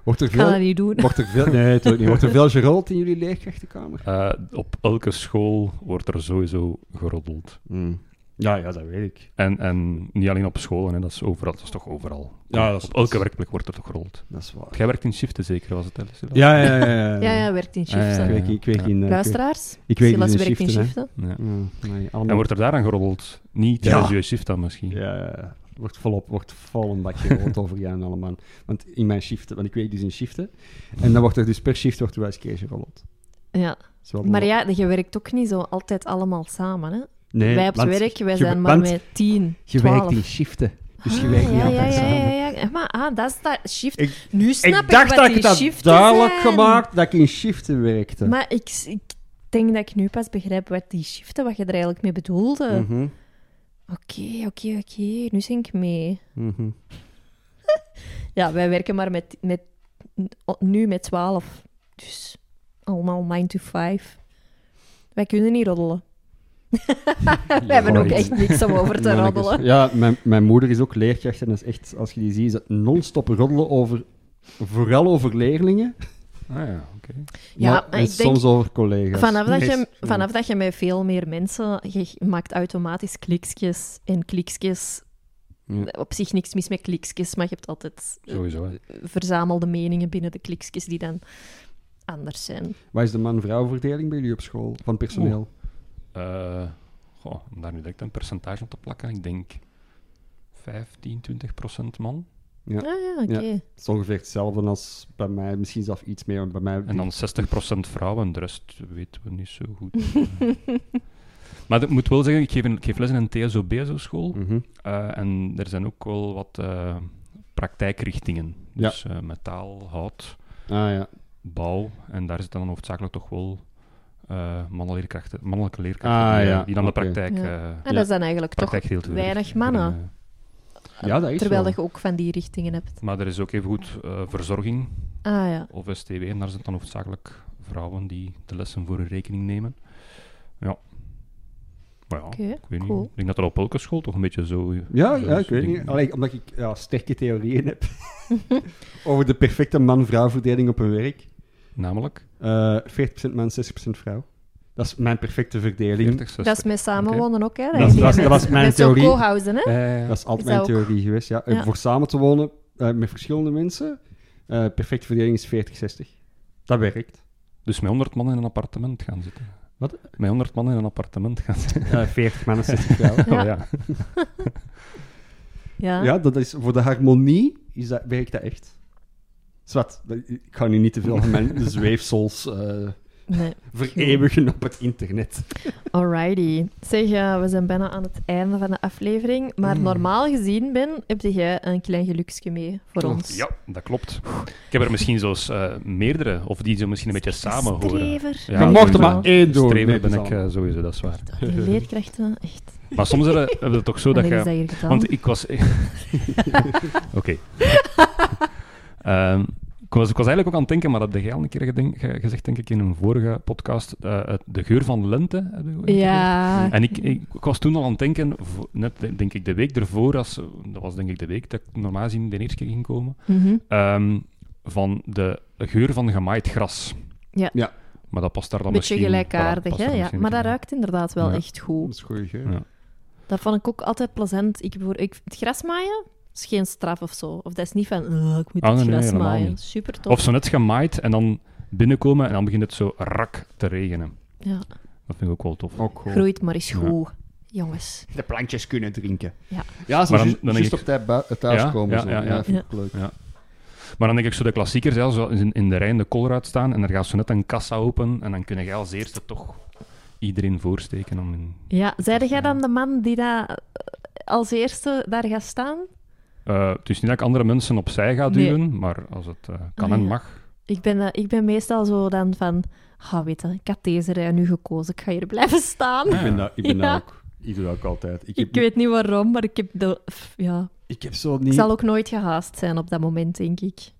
B: Wordt er
A: ik ga dat
B: veel...
A: niet doen.
B: Wordt er veel... Nee, natuurlijk niet. Wordt er veel gerold in jullie leerkrachtenkamer?
C: Eh, op elke school wordt er sowieso geroddeld.
B: Hmm. Ja, ja, dat weet ik.
C: En, en niet alleen op scholen, hè. dat is overal. Dat is toch overal.
B: Ja, dat is-
C: op elke werkplek wordt er toch geroddeld.
B: Dat is waar.
C: Jij werkt in shiften zeker, was het, hè, Lucilla?
B: Ja, ja, ja. Ja,
A: Ja, ja, werkt in
B: Ah, ja,
A: shiften.
B: Ik werk in... Ik werk in, eh,
A: Luisteraars,
B: ik werk
A: Silas
B: in
A: werkt in
B: shiften, hè.
A: shiften.
C: Ja.
B: Ja, nee,
C: En
B: allemaal...
C: wordt er daaraan geroddeld? Niet
B: Ja.
C: tijdens je shift dan misschien?
B: Ja, ja, ja. wordt volop, wordt vol een bakje rood overgaan allemaal. Want in mijn shiften, want ik weet dus in shiften. En dan wordt er dus per shift wordt er wel eens keertje verlot.
A: Ja.
B: Is wel
A: Maar
B: belangrijk.
A: ja, je werkt ook niet zo altijd allemaal samen. Hè?
B: Nee,
A: wij op het
B: want
A: werk, wij
B: je-
A: zijn maar
B: want
A: met tien,
B: Je
A: twaalf.
B: werkt in shiften, dus je
A: Ah,
B: werkt niet
A: ja, ja,
B: altijd
A: ja,
B: samen.
A: Ja, ja, ja. Maar ah, dat is dat shift.
B: Ik-
A: nu snap
B: ik dacht
A: wat
B: dat
A: die
B: ik dat
A: shiften
B: duidelijk
A: zijn.
B: gemaakt dat ik in shiften werkte.
A: Maar ik, ik denk dat ik nu pas begrijp wat die shiften, wat je er eigenlijk mee bedoelde.
B: Mhm,
A: Oké, oké, oké. Nu zing ik mee.
B: mhm.
A: Ja, wij werken maar met, met nu met 12. Dus allemaal 9 to 5. Wij kunnen niet roddelen. We hebben ook
B: Mooi.
A: echt niks om over te
B: Mannekes.
A: roddelen.
B: Ja, mijn, mijn moeder is ook leerkracht en dat is echt, als je die ziet, is dat non-stop roddelen over, vooral over leerlingen,
C: Ah ja, oké.
A: Ja,
B: maar,
A: maar
B: en
A: ik denk-
B: soms over collega's.
A: Vanaf dat, je,
B: Echt, ja.
A: vanaf dat je met veel meer mensen... Je maakt automatisch kliksjes en kliksjes.
B: Ja.
A: Op zich niks mis met kliksjes, maar je hebt altijd eh,
C: Sowieso. hè.
A: verzamelde meningen binnen de kliksjes die dan anders zijn.
B: Wat is de man-vrouw verdeling bij jullie op school, van personeel?
C: Eh, goh, om daar nu direct een percentage op te plakken, ik denk 15, 20 procent man.
A: Ah ja, oké.
B: Het is ongeveer hetzelfde als bij mij, misschien zelfs iets meer, want bij mij...
C: En dan 60 procent vrouwen, de rest weten we niet zo goed. maar ik moet wel zeggen, ik geef, een, ik geef les in een TSOB, zo'n school.
B: Mhm.
C: Eh, en er zijn ook wel wat eh, praktijkrichtingen. Dus eh, metaal, hout,
B: Ah ja,
C: bouw. En daar zitten dan hoofdzakelijk toch wel eh mannelijke leerkrachten, mannelijke leerkrachten
B: Ah,
C: die, eh,
B: ja,
C: die dan
B: oké.
C: de praktijk,
A: Ja.
C: eh
A: En Ah, dat zijn eigenlijk toch
C: praktijkgedeelte willen- eh,
A: weinig mannen.
C: willen,
B: ja dat is
A: Terwijl
B: wel.
A: je ook van die richtingen hebt.
C: eh, Maar er is ook even goed eh, verzorging
A: Ah ja.
C: of STW. En daar zitten dan hoofdzakelijk vrouwen die de lessen voor hun rekening nemen. Ja. Maar ja,
A: Oké,
C: ik weet
A: cool.
C: niet. Ik denk dat dat op elke school toch een beetje zo... eh,
B: Ja,
C: zo
B: ja, ik
C: zo'n
B: weet
C: ding-
B: niet. Allee, omdat ik ja, sterke theorieën heb over de perfecte man-vrouw verdeling op een werk.
C: Namelijk?
B: Eh 40% man, 60% vrouw. Dat is mijn perfecte verdeling.
C: 40, 60.
A: Dat is met samenwonen ook, hè?
B: Dat is- dat is- dat was
A: Met-
B: mijn
A: met zo'n
B: theorie.
A: co-housen, hè?
C: Ja, ja, ja.
B: Dat is altijd
A: Is
B: mijn
A: dat ook-
B: theorie geweest. Ja. En
A: Ja.
B: Voor samen te wonen eh, met verschillende mensen, eh, perfecte verdeling is 40-60. Dat werkt.
C: Dus met 100 man in een appartement gaan zitten.
B: Wat?
C: Met 100 man in een appartement gaan zitten.
B: Eh 40 mannen, 60 vrouwen.
A: Ja.
C: Oh, ja.
A: Ja.
B: Ja, dat is, voor de harmonie is dat, werkt dat echt. Zwat, dat- ik ga nu niet te veel van mijn zweefsels eh,
A: Nee.
B: vereeuwigen op het internet.
A: Alrighty. Zeg, eh, we zijn bijna aan het einde van de aflevering. Maar normaal gezien, Ben, heb jij een klein geluksje mee voor ons.
C: ja, dat klopt. Ik heb er misschien zelfs eh, meerdere, of die zo misschien een beetje samen horen.
A: Strever.
C: Ja,
B: maar mocht er
C: sowieso.
B: maar één door.
C: Strever
B: nee, dat
C: ben
B: is
C: ik
B: al.
C: eh, sowieso, dat is waar.
A: Toch, Die leerkrachten, echt.
C: Maar soms hebben hebben we het toch zo dat
A: Wanneer is
C: je...
A: dat hier gedaan?
C: Want ik was... Oké. Ehm, ik, was, ik was eigenlijk ook aan het denken, maar dat heb jij al een keer gedenk- ge- gezegd, denk ik, in een vorige podcast. eh, het- de geur van lente. heb je ooit gezegd?
A: Ja.
C: En ik, ik, ik was toen al aan het denken, vo- net de- denk ik de week ervoor, als, dat was denk ik de week dat ik normaal gezien de eerste keer ging komen,
A: Mhm.
C: ehm, van de geur van gemaaid gras.
A: Ja.
B: Ja.
C: Maar dat past daar dan
A: Beetje
C: misschien... voilà,
A: gelijkaardig,
C: past
A: hè?
C: daar
A: Ja.
C: misschien
A: Maar
C: een
A: dat
C: keer
A: ruikt inderdaad wel
C: Ja.
A: echt
B: Dat
A: goed.
B: is goeie geur.
C: Ja.
A: Dat vond ik ook altijd plezant. Ik, bedoel, ik, het grasmaaien is geen straf of zo. Of dat is niet van, "Ugh, ik moet
C: Ah,
A: het
C: nee, nee,
A: gras
C: helemaal
A: maaien.
C: niet.
A: Super tof.
C: Of zo net gemaaid en dan binnenkomen en dan begint het zo rak te regenen.
A: Ja.
C: Dat vind ik ook wel tof.
B: Ook goed.
A: Groeit maar eens
C: Ja.
A: goed, jongens.
B: De plantjes kunnen drinken.
A: Ja.
B: ja ze
C: Maar dan-
B: ju-
C: dan denk
B: juist
C: ik-
B: op tijd bui- thuis
C: Ja,
B: komen.
C: ja,
B: zo.
C: ja, ja.
B: vind ik leuk.
C: Maar dan denk ik zo de klassiekers, hè, zo in, in de rij in de Colruyt staan en er gaat zo net een kassa open en dan kun jij als eerste toch iedereen voorsteken om in...
A: Ja, zeide jij dan de man die daar als eerste daar gaat staan?
C: Eh, het is niet dat ik andere mensen opzij ga
A: Nee.
C: duwen, maar als het eh, kan
A: Ah,
C: en
A: ja.
C: mag.
A: Ik ben, eh, ik ben meestal zo dan van... Ah, weet je, ik had deze rij nu gekozen. Ik ga hier blijven staan.
B: Ik ben dat, ik ben
A: Ja.
B: dat ook. Ik doe dat ook altijd. Ik heb,
A: Ik weet niet waarom, maar ik heb... De, pff, ja.
B: ik heb zo
A: Ik
C: Hm.
B: niet...
A: zal ook nooit gehaast zijn op dat moment, denk ik.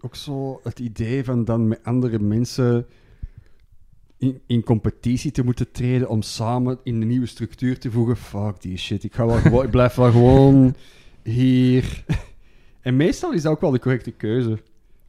B: Ook zo het idee van dan met andere mensen in, in competitie te moeten treden om samen in de nieuwe structuur te voegen. Fuck die shit. Ik, ga wel gewoon, ik blijf wel gewoon hier. En meestal is dat ook wel de correcte keuze.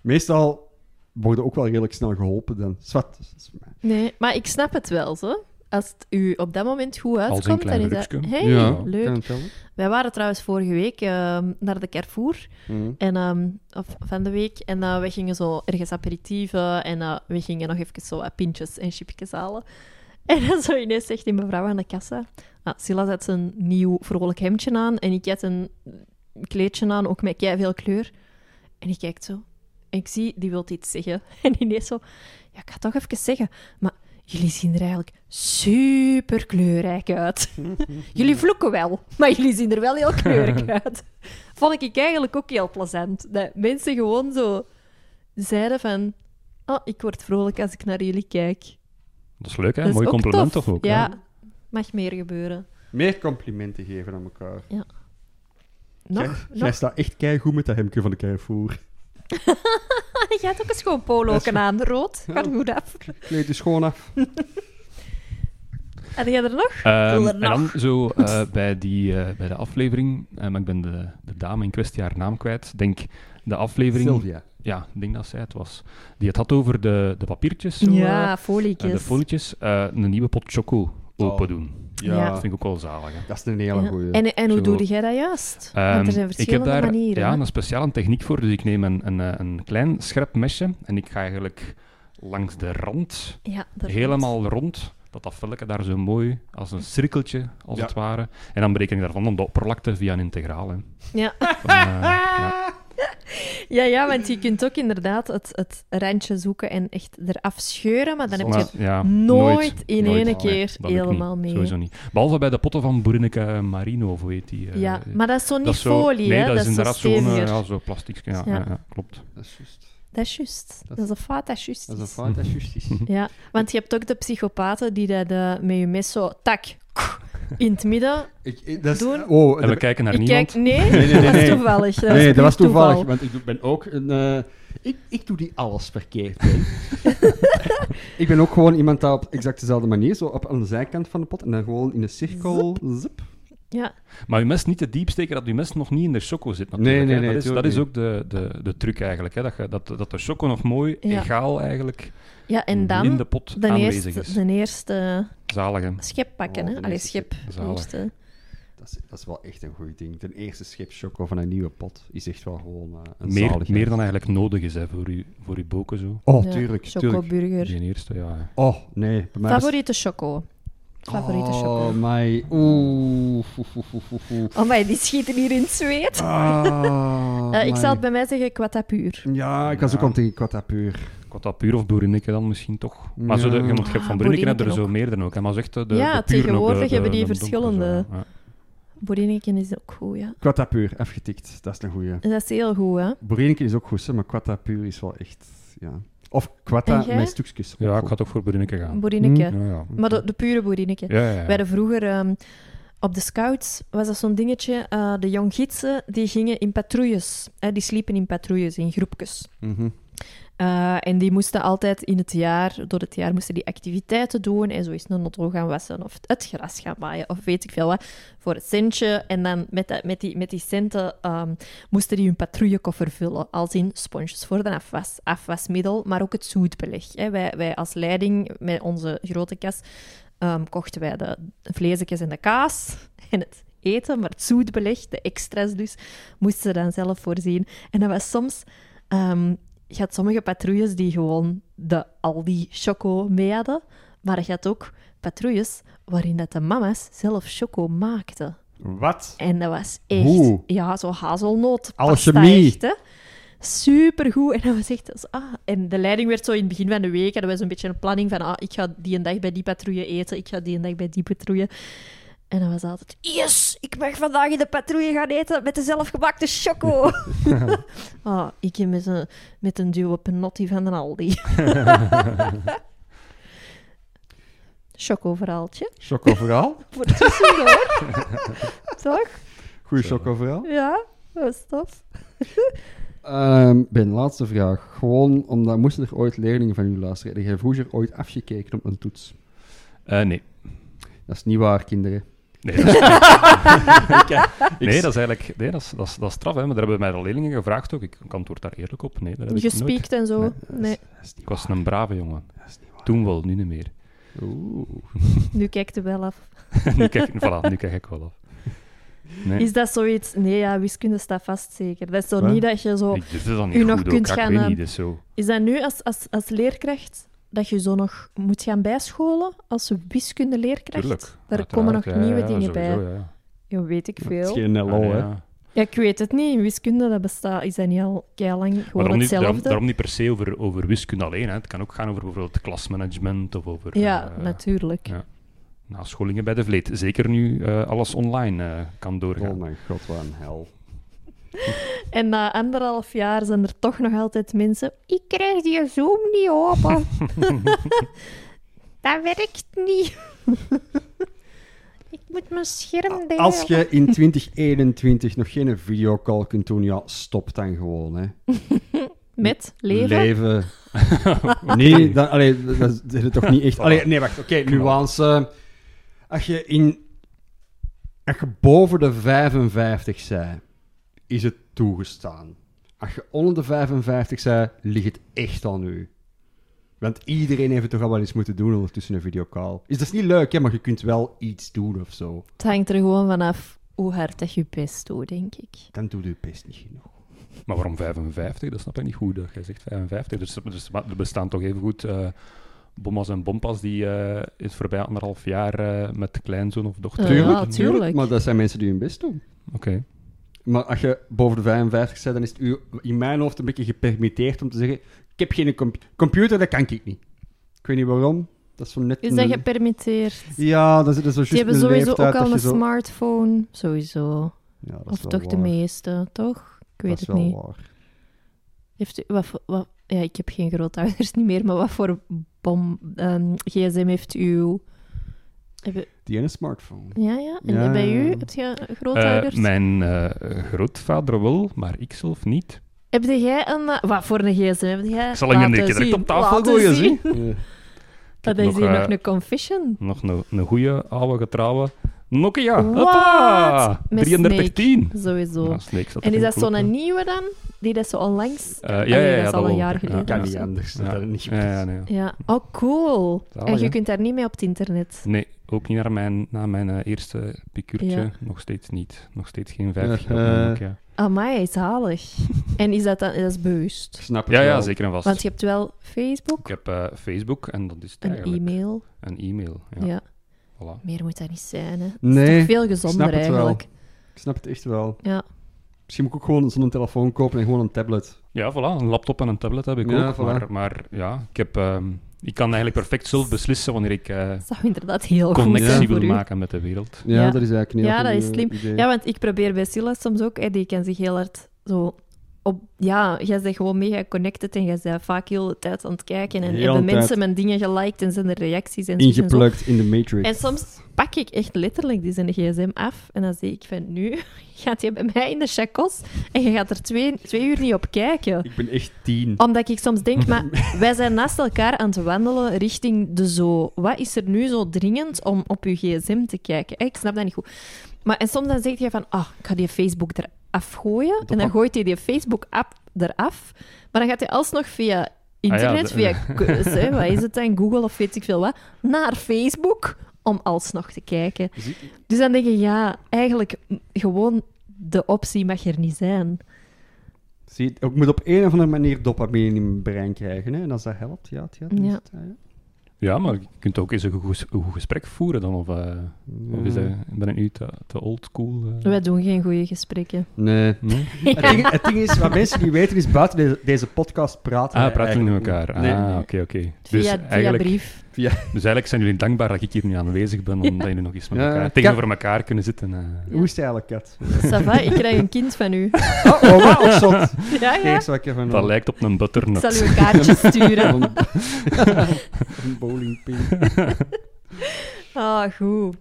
B: Meestal worden ook wel redelijk snel geholpen dan. Zwat. dat is mijn-
A: Nee, maar ik snap het wel, zo. Als het u op dat moment goed
C: een
A: uitkomt, dan
C: klein
A: is dat...
C: gelukske.
A: hey,
B: ja,
A: leuk.
B: kan het wel.
A: Wij waren trouwens vorige week ehm, naar de Carrefour.
B: Mhm.
A: En, ehm, of van de week. En eh, we gingen zo ergens aperitieven en eh, we gingen nog even zo wat pintjes en chipjes halen. En dan zo ineens zegt die mevrouw aan de kassa... Ah, Silla zet zijn nieuw vrolijk hemdje aan en ik had een kleedje aan, ook met veel kleur. En ik kijk zo. En ik zie, die wil iets zeggen. En ineens zo... Ja, ik ga het toch even zeggen, maar jullie zien er eigenlijk super kleurrijk uit. jullie vloeken wel, maar jullie zien er wel heel kleurrijk uit. Vond ik eigenlijk ook heel plezant. Dat mensen gewoon zo zeiden van... Oh, ik word vrolijk als ik naar jullie kijk.
C: Dat is leuk, hè?
A: Dat is
C: Mooi
A: ook
C: compliment
A: tof.
C: toch ook? hè?
A: Ja, mag meer gebeuren.
B: Meer complimenten geven aan elkaar.
A: Nog?
B: Jij-
A: nog?
B: Jij staat echt keigoed met dat hemdje van de Carrefour.
A: Ah, jij hebt ook een schoon polo
B: Dat is-
A: aan, rood. Gaat goed af.
B: Kleed je schoon af.
A: Had jij er nog?
C: Ehm,
A: Wil er
C: en dan zo eh, bij, die, eh, bij de aflevering, eh, maar ik ben de, de dame in kwestie haar naam kwijt. Ik Denk de aflevering,
B: Sylvia.
C: ja, ik denk dat zij het was. Die het had over de, de papiertjes, zo, eh,
A: Ja,
C: eh,
A: folietjes.
C: de folietjes, eh, een nieuwe pot choco open doen.
B: Ja,
A: Ja.
C: Dat vind ik ook wel zalig. hè.
B: dat is een hele
A: Ja.
B: goeie.
A: En, en hoe
C: Zo.
A: doe jij dat juist?
C: Ehm,
A: Want er zijn
C: ik heb
A: verschillende
C: daar
A: manieren.
C: ja,
A: hè?
C: een speciale techniek voor, dus ik neem een, een, eh, een klein scherp mesje en ik ga eigenlijk langs de rand
A: Ja, dat
C: helemaal rond. Dat dat velletje daar zo mooi als een cirkeltje, als
B: Ja.
C: het ware. En dan bereken ik daarvan dan de opperlakte via een integraal. Hè.
A: Ja.
C: Van, eh, ja.
A: Ja, ja, want je kunt ook inderdaad het, het randje zoeken en echt eraf scheuren, maar dan heb je
C: Maar,
A: het
C: ja,
A: nooit in
C: nooit.
A: ene
C: Nee,
A: keer
C: dat lukt
A: helemaal
C: niet.
A: mee.
C: Sowieso niet. Behalve bij de potten van Boerinneke eh, Marino, of hoe heet die? eh,
A: Ja, maar dat is zo niet
C: dat is zo-
A: folie,
C: Nee,
A: hè?
C: dat is
A: zo
C: inderdaad zo'n eh,
A: steviger.
C: ja, zo plastic. Ja,
A: Ja.
C: ja. ja, klopt.
B: Dat is juist.
A: Dat is juist. Dat is een fout, dat is juist.
B: Dat is een fout, dat is juist iets.
A: Ja, want je hebt ook de psychopaten die dat eh, met je mes zo tak in het midden.
B: Ik- ik- dat is-
A: Doen.
B: Oh,
C: En we
B: dat-
C: kijken naar
A: Ik
C: niemand.
A: kijk, nee,
B: nee, nee,
A: dat was
B: nee.
A: toevallig. Dat
B: nee, dat was
A: puur
B: toevallig,
A: toeval.
B: want ik ben ook een... eh, ik, ik doe die alles verkeerd. hè. ik ben ook gewoon iemand dat op exact dezelfde manier, zo op aan de zijkant van de pot, en dan gewoon in een cirkel, zip.
A: Ja,
C: Maar uw mes niet te diep steken, dat uw mes nog niet in de choco zit natuurlijk.
B: Nee, nee,
C: hè.
B: nee,
C: dat is, dat
B: tuurlijk
C: is
B: niet.
C: ook de, de, de truc eigenlijk, hè. Dat, je, dat, dat de choco nog mooi,
A: Ja.
C: egaal eigenlijk,
A: ja en
C: in
A: dan
C: de pot
A: de
C: aanwezig
A: eerste,
C: is.
A: de eerste
C: Zalig, hè.
A: schep pakken.
B: Oh,
A: hè?
B: de
A: Allee,
B: eerste
A: schep. de
C: Zalig.
A: eerste.
B: Dat is, dat is wel echt een goed ding. Ten eerste schip choco van een nieuwe pot is echt wel gewoon eh, een
C: Meer,
B: zaligheid.
C: meer dan eigenlijk nodig is, hè, voor uw, voor uw boken zo.
B: Oh,
A: Ja,
B: tuurlijk, tuurlijk.
A: Chocoburger.
C: Die eerste, ja.
B: Oh, nee. Bij mij was-
A: Favoriete choco. Favoriete choco.
B: Oh, my. Oeh. oeh, oeh, oeh, oeh, oeh.
A: Oh, maar die schieten hier in het zweet.
B: Ah,
A: Eh, ik
B: my.
A: zal het bij mij zeggen quatapuur.
B: Ja, ik was ook
C: Ja.
B: al tegen Quatapuur.
C: Kota puur of boerinneke dan misschien toch. Maar zo de, je moet- je hebt
A: Ah,
C: van boerinneke heb je er
A: boerinneken
C: zo meerdere ook. Hè. Maar zegt de, de
A: Ja,
C: de puren ook,
A: tegenwoordig
C: de- de-
A: hebben die
C: de donkere
A: verschillende.
C: zo, ja.
A: Boerinneken is ook goed, ja.
B: Quatapuur, afgetikt. Dat is een goeie.
A: Dat is heel goed, hè?
B: Boerinke is ook goed, hè, maar Quatapuur is wel echt... Ja. Of Quata
A: En jij?
B: met stukjes.
C: Ja, ik
B: Ook
C: ga toch voor boerinneke gaan.
A: Boerinneke.
C: Ja, ja.
A: Maar de, de pure boerinneke.
C: Ja, ja, ja.
A: Wij hadden vroeger ehm, op de scouts was dat zo'n dingetje. eh, de jonggidsen die gingen in patrouilles. Hè, die sliepen in patrouilles, in groepjes.
B: goed. Mhm.
A: Eh, en die moesten altijd in het jaar, door het jaar moesten die activiteiten doen. En zo is een notto gaan wassen of het gras gaan maaien of weet ik veel wat. Voor het centje. En dan met, dat- met, die, met die centen ehm, moesten die hun patrouillekoffer vullen. Als in sponsjes voor de afwas, afwasmiddel, maar ook het zoetbeleg. Hè. Wij, wij als leiding met onze grote kas ehm, kochten wij de vleesjes en de kaas en het eten. Maar het zoetbeleg, de extra's dus, moesten ze dan zelf voorzien. En dat was soms... ehm, je had sommige patrouilles die gewoon de Aldi choco mee hadden, maar je had ook patrouilles waarin dat de mama's zelf choco maakten.
B: Wat?
A: En dat was echt,
B: Oeh.
A: ja, zo hazelnoot.
B: Alchemie.
A: Echt, hè? Supergoed. En dat was echt, dat is- ah. En de leiding werd zo in het begin van de week, hadden we zo'n beetje een planning van, ah, ik ga die een dag bij die patrouille eten, ik ga die een dag bij die patrouille. En dat was altijd, yes, ik mag vandaag in de patrouille gaan eten met de zelfgemaakte choco. ah, ik met een, met een duo penotti van de Aldi. Chocoverhaaltje.
B: Chocoverhaal?
A: Voor tussendoor. Toch?
B: Goeie
C: Zo.
B: chocoverhaal.
A: Ja, dat was tof.
B: Ehm ben laatste vraag. Gewoon omdat moesten er ooit leerlingen van u luisteren? Heb jij vroeger ooit afgekeken op een toets?
C: Eh, nee.
B: Dat is niet waar, kinderen.
C: Nee, dat is, nee,
B: Ik-
C: dat is eigenlijk nee, dat is, dat is, dat is straf, hè. maar daar hebben mij de leerlingen gevraagd ook. Ik antwoord daar eerlijk op. Nee, dat heb ik nooit.
A: Gespiekt en zo. Nee,
B: Dat is
C: Ik
B: niet
C: was een brave jongen.
B: waar. Dat is niet waar.
C: Toen wel, nu niet meer.
B: Oeh.
A: nu kijkt er wel af.
C: nu, kijk, voilà, nu kijk ik wel af. Nee,
A: Is dat zoiets? Nee, ja, wiskunde staat vast zeker. Dat is zo
B: Wat?
A: niet dat je zo...
C: ik durfde dat
A: Oh. u
C: niet
A: nog
C: goed ook.
A: kunt
C: ja, Ik
A: gaan,
C: weet
A: eh,
C: niet, dus zo.
A: Is dat nu als, als, als leerkracht dat je zo nog moet gaan bijscholen als wiskundeleerkracht.
C: Tuurlijk.
A: Daar komen nog
C: uiteraard, ja,
A: nieuwe
C: ja,
A: dingen bij.
C: sowieso, ja.
A: Ja, weet ik
B: Het is
A: veel.
B: geen LO,
C: Ah,
B: hè.
C: ja.
A: Ja, ik weet het niet. In wiskunde dat bestaat, is dat niet al lang gewoon
C: Maar daarom niet,
A: hetzelfde?
C: daarom, daarom niet per se over, over wiskunde alleen. Hè. Het kan ook gaan over bijvoorbeeld klasmanagement of over
A: Ja,
C: eh,
A: natuurlijk.
C: ja. nascholingen bij de vleet. Zeker nu eh, alles online eh, kan doorgaan.
B: Oh mijn god, wat een hel.
A: En na anderhalf jaar zijn er toch nog altijd mensen.
D: Ik krijg die Zoom niet open. dat werkt niet. ik moet mijn scherm delen.
B: Als je in 2021 nog geen videocall kunt doen, ja, stop dan gewoon, hè.
A: Met leven.
B: Leven. nee, dan, allee, dat- dat is- dat is toch niet echt... Allee, nee, wacht. Oké, nuance. Als je, in, als je boven de 55 bent, is het toegestaan. Als je onder de 55 bent, ligt het echt aan u. Want iedereen heeft het toch al wel eens moeten doen ondertussen een videocall. Is dat is niet leuk, hè, maar je kunt wel iets doen of zo.
A: Het hangt er gewoon vanaf hoe hard dat je best doet, denk ik.
B: Dan doe je het best niet genoeg.
C: Maar waarom 55? Dat snap ik niet goed. dat Jij zegt 55. Dus, dus- maar er bestaan toch even goed eh bommas en bompas die eh, in het voorbij anderhalf jaar eh, met kleinzoon of dochter.
A: Ja,
B: Tuurlijk,
A: ja,
B: tuurlijk,
A: tuurlijk.
B: Maar dat zijn mensen die hun best doen.
C: Oké.
B: Maar als je boven de 55 bent, dan is het u in mijn hoofd een beetje gepermitteerd om te zeggen: Ik heb geen com- computer, dat kan ik niet. Ik weet niet waarom. Dat is zo net.
A: Is
B: een-
A: dat gepermitteerd?
B: Mm. Ja, dat is, dat is zo juist
A: Die hebben
B: een
A: sowieso ook
B: leeftijd
A: al
B: dat
A: een
B: je zo...
A: smartphone. Sowieso.
B: Ja, dat is
A: Of
B: wel
A: toch de
B: waar.
A: meeste, toch? Ik weet
B: dat is
A: het
B: wel
A: niet.
B: Waar.
A: Heeft u, wat, voor- wat, ja, ik heb geen grootouders niet meer, maar wat voor bom, ehm, gsm heeft u? Hebben,
B: Die ene smartphone.
A: ja, ja. En
B: Ja,
A: bij
B: ja, ja.
A: u? Heb je grootouders?
C: Eh, mijn eh, grootvader wel, maar ik zelf niet.
A: Heb jij een... eh, Wat voor een gsm heb jij?
C: Ik zal hem
A: Laten
C: een keer direct
A: zien,
C: op tafel
A: laten
C: gooien,
A: zien.
B: Ja.
A: Dat
C: heb
A: is
C: nog,
A: hier
C: eh,
A: nog een confession.
C: Nog een, een goede oude getrouwe Nokia.
A: Wat?
C: Hoppa!
A: Met
C: 3310.
A: Sowieso.
C: Ja, Snake zat
A: en is
C: erin,
A: dat zo'n
C: klopt, hè.
A: nieuwe dan? Die dat zo onlangs...
C: Eh,
A: Ah,
C: ja,
A: nee,
C: ja, ja,
A: dat is al
C: wel.
A: een jaar
C: Ja,
A: geleden.
B: Kan
A: of
B: niet
A: zo.
B: anders.
C: Ja.
B: Dat dat niet
C: Ja,
B: gebeurt.
C: ja, nee.
A: Ja. Oh, cool.
C: Zalig,
A: en je
C: hè?
A: kunt daar niet mee op het internet.
C: Nee, ook niet naar mijn, na mijn eh, eerste picuurtje.
A: Ja.
C: Nog steeds niet. Nog steeds geen 5G op
B: Eh,
C: mijn
B: eh.
C: Nokia.
A: Amai, zalig. en is dat dan... Dat is bewust.
B: Ik snap het
C: Ja, ja,
B: wel.
C: zeker en vast.
A: Want je hebt wel Facebook,
C: Ik heb eh, Facebook en dat is het
A: een
C: eigenlijk.
A: e-mail.
C: Een e-mail.
A: Ja.
C: Ja. Voilà.
A: meer moet dat niet zijn. Hè.
B: Nee,
A: Toch veel gezonder
B: snap het wel.
A: eigenlijk.
B: ik snap het echt wel.
A: Ja.
B: Misschien moet ik ook gewoon zo'n telefoon kopen en gewoon een tablet.
C: ja, voilà. Een laptop en een tablet heb ik
B: Ja,
C: ook.
B: voilà.
C: Maar, maar ja, ik, heb, ehm, ik kan eigenlijk perfect zelf beslissen wanneer ik eh,
A: Dat zou inderdaad heel goed
C: connectie
A: zijn
C: wil
A: voor u.
C: maken met de wereld.
B: Ja,
A: Ja.
B: dat is eigenlijk een heel
A: Ja, dat
B: goed,
A: is
B: eh,
A: slim.
B: idee.
A: Ja, want ik probeer bij Silla soms ook, hè, die kan zich heel hard zo op... Ja, jij bent gewoon mega connected en jij bent vaak heel de tijd aan het kijken. En
B: Heel
A: hebben
B: de tijd.
A: mensen mijn dingen geliked en zijn er reacties en zo en zo.
B: Ingeplukt in de Matrix.
A: En soms pak ik echt letterlijk die zijn gsm af en dan zie ik van nu gaat je bij mij in de chacos en je gaat er twee, twee uur niet op kijken.
B: Ik ben echt tien.
A: Omdat ik soms denk, maar wij zijn naast elkaar aan het wandelen richting de zo. Wat is er nu zo dringend om op je gsm te kijken? Eh, Ik snap dat niet goed. Maar en soms dan zeg je van, ah, ik ga die Facebook eraf gooien. en dan
B: pak-
A: gooit hij die Facebook-app eraf. Maar dan gaat hij alsnog via internet,
C: Ah ja, de-
A: via keus, hè, wat is het dan, Google of weet ik veel wat, naar Facebook om alsnog te kijken.
B: Zie-
A: Dus dan denk je, ja, eigenlijk m, gewoon de optie mag er niet zijn.
B: Zie, je, ik moet op een of andere manier dopamine in mijn brein krijgen. Hè? En als dat helpt, ja, het, ja, dan is
A: Ja.
B: het, ja, ja.
C: Ja, maar je kunt ook eens een goed, ges- een goed gesprek voeren dan. Of, eh, of is dat, ben ik nu te, te old school? eh?
A: Wij doen geen goede gesprekken.
B: Nee.
C: Nee?
B: Het, ding, het ding is, wat mensen niet weten, is buiten deze, deze podcast praten.
C: Ah,
B: wij
C: praten jullie met
B: eigenlijk
C: elkaar.
B: niet.
C: ah,
B: Nee.
C: oké, oké.
A: Via,
C: Dus,
A: via
C: eigenlijk, dus
A: brief.
C: eigenlijk zijn jullie dankbaar dat ik hier niet aanwezig ben, omdat jullie nog eens met
B: Ja,
C: elkaar
B: ja.
C: tegenover elkaar kunnen zitten. eh.
B: Hoe is het eigenlijk, Kat?
A: Sava, ik krijg een kind van u.
B: Oh, oh, wat oh, zot.
A: Ja, ja.
B: Eerst wat ik even
C: Dat lijkt op een
A: Ik
C: butternut.
A: zal u een kaartje sturen.
B: een, een bowlingpin.
A: Ah, goed.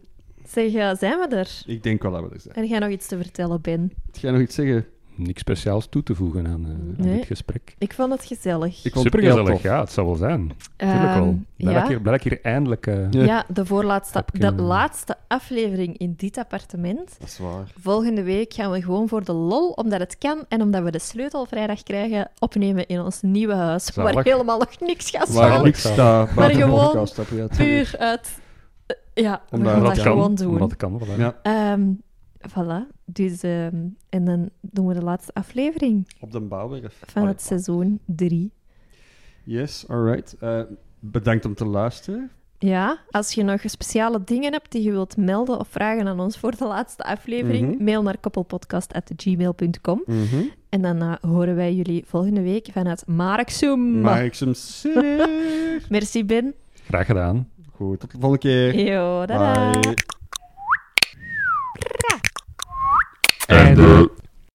A: Zeg, eh, zijn we er?
B: Ik denk wel dat we er zijn.
A: En jij nog iets te vertellen, Ben?
B: Ga je nog iets zeggen?
C: Niks speciaals toe te voegen aan, eh, aan
A: Nee.
C: dit gesprek.
A: Ik vond het gezellig.
B: Ik vond het heel
C: Supergezellig,
B: tof.
C: ja, het zal wel zijn. Tuurlijk
A: Ehm,
C: wel. Blij dat
A: ja.
C: ik hier- blij dat ik hier eindelijk... eh,
B: Ja.
A: Ja, de voorlaatste,
C: Heb ik
A: de
C: een-
A: laatste aflevering in dit appartement.
B: Dat is waar.
A: Volgende week gaan we gewoon voor de lol, omdat het kan en omdat we de sleutel vrijdag krijgen, opnemen in ons nieuwe huis, waar
C: Zalig.
A: helemaal nog niks gaat
B: Waar
A: staan.
B: ik sta, buiten de
A: gewoon
B: podcast. heb, ja, tuurlijk.
A: Puur uit... eh, Ja, we
B: Omdat
A: gaan
B: het
A: dat
B: kan.
A: gewoon doen.
C: Omdat het kan, voilà.
B: Ja,
A: Ehm, voilà. Dus, ehm, en dan doen we de laatste aflevering
B: op de bouwwerf.
A: van het seizoen 3.
B: Yes, alright. Eh, Bedankt om te luisteren.
A: Ja, als je nog speciale dingen hebt die je wilt melden of vragen aan ons voor de laatste aflevering,
B: Mhm.
A: mail naar koppelpodcast.gmail.com.
B: Mhm.
A: En dan eh, horen wij jullie volgende week vanuit Marksum.
B: Maar ik hem zeer.
A: Merci, Ben.
C: Graag gedaan.
B: Goed, tot de volgende keer.
A: Yo, da
B: Bye.
E: Einde.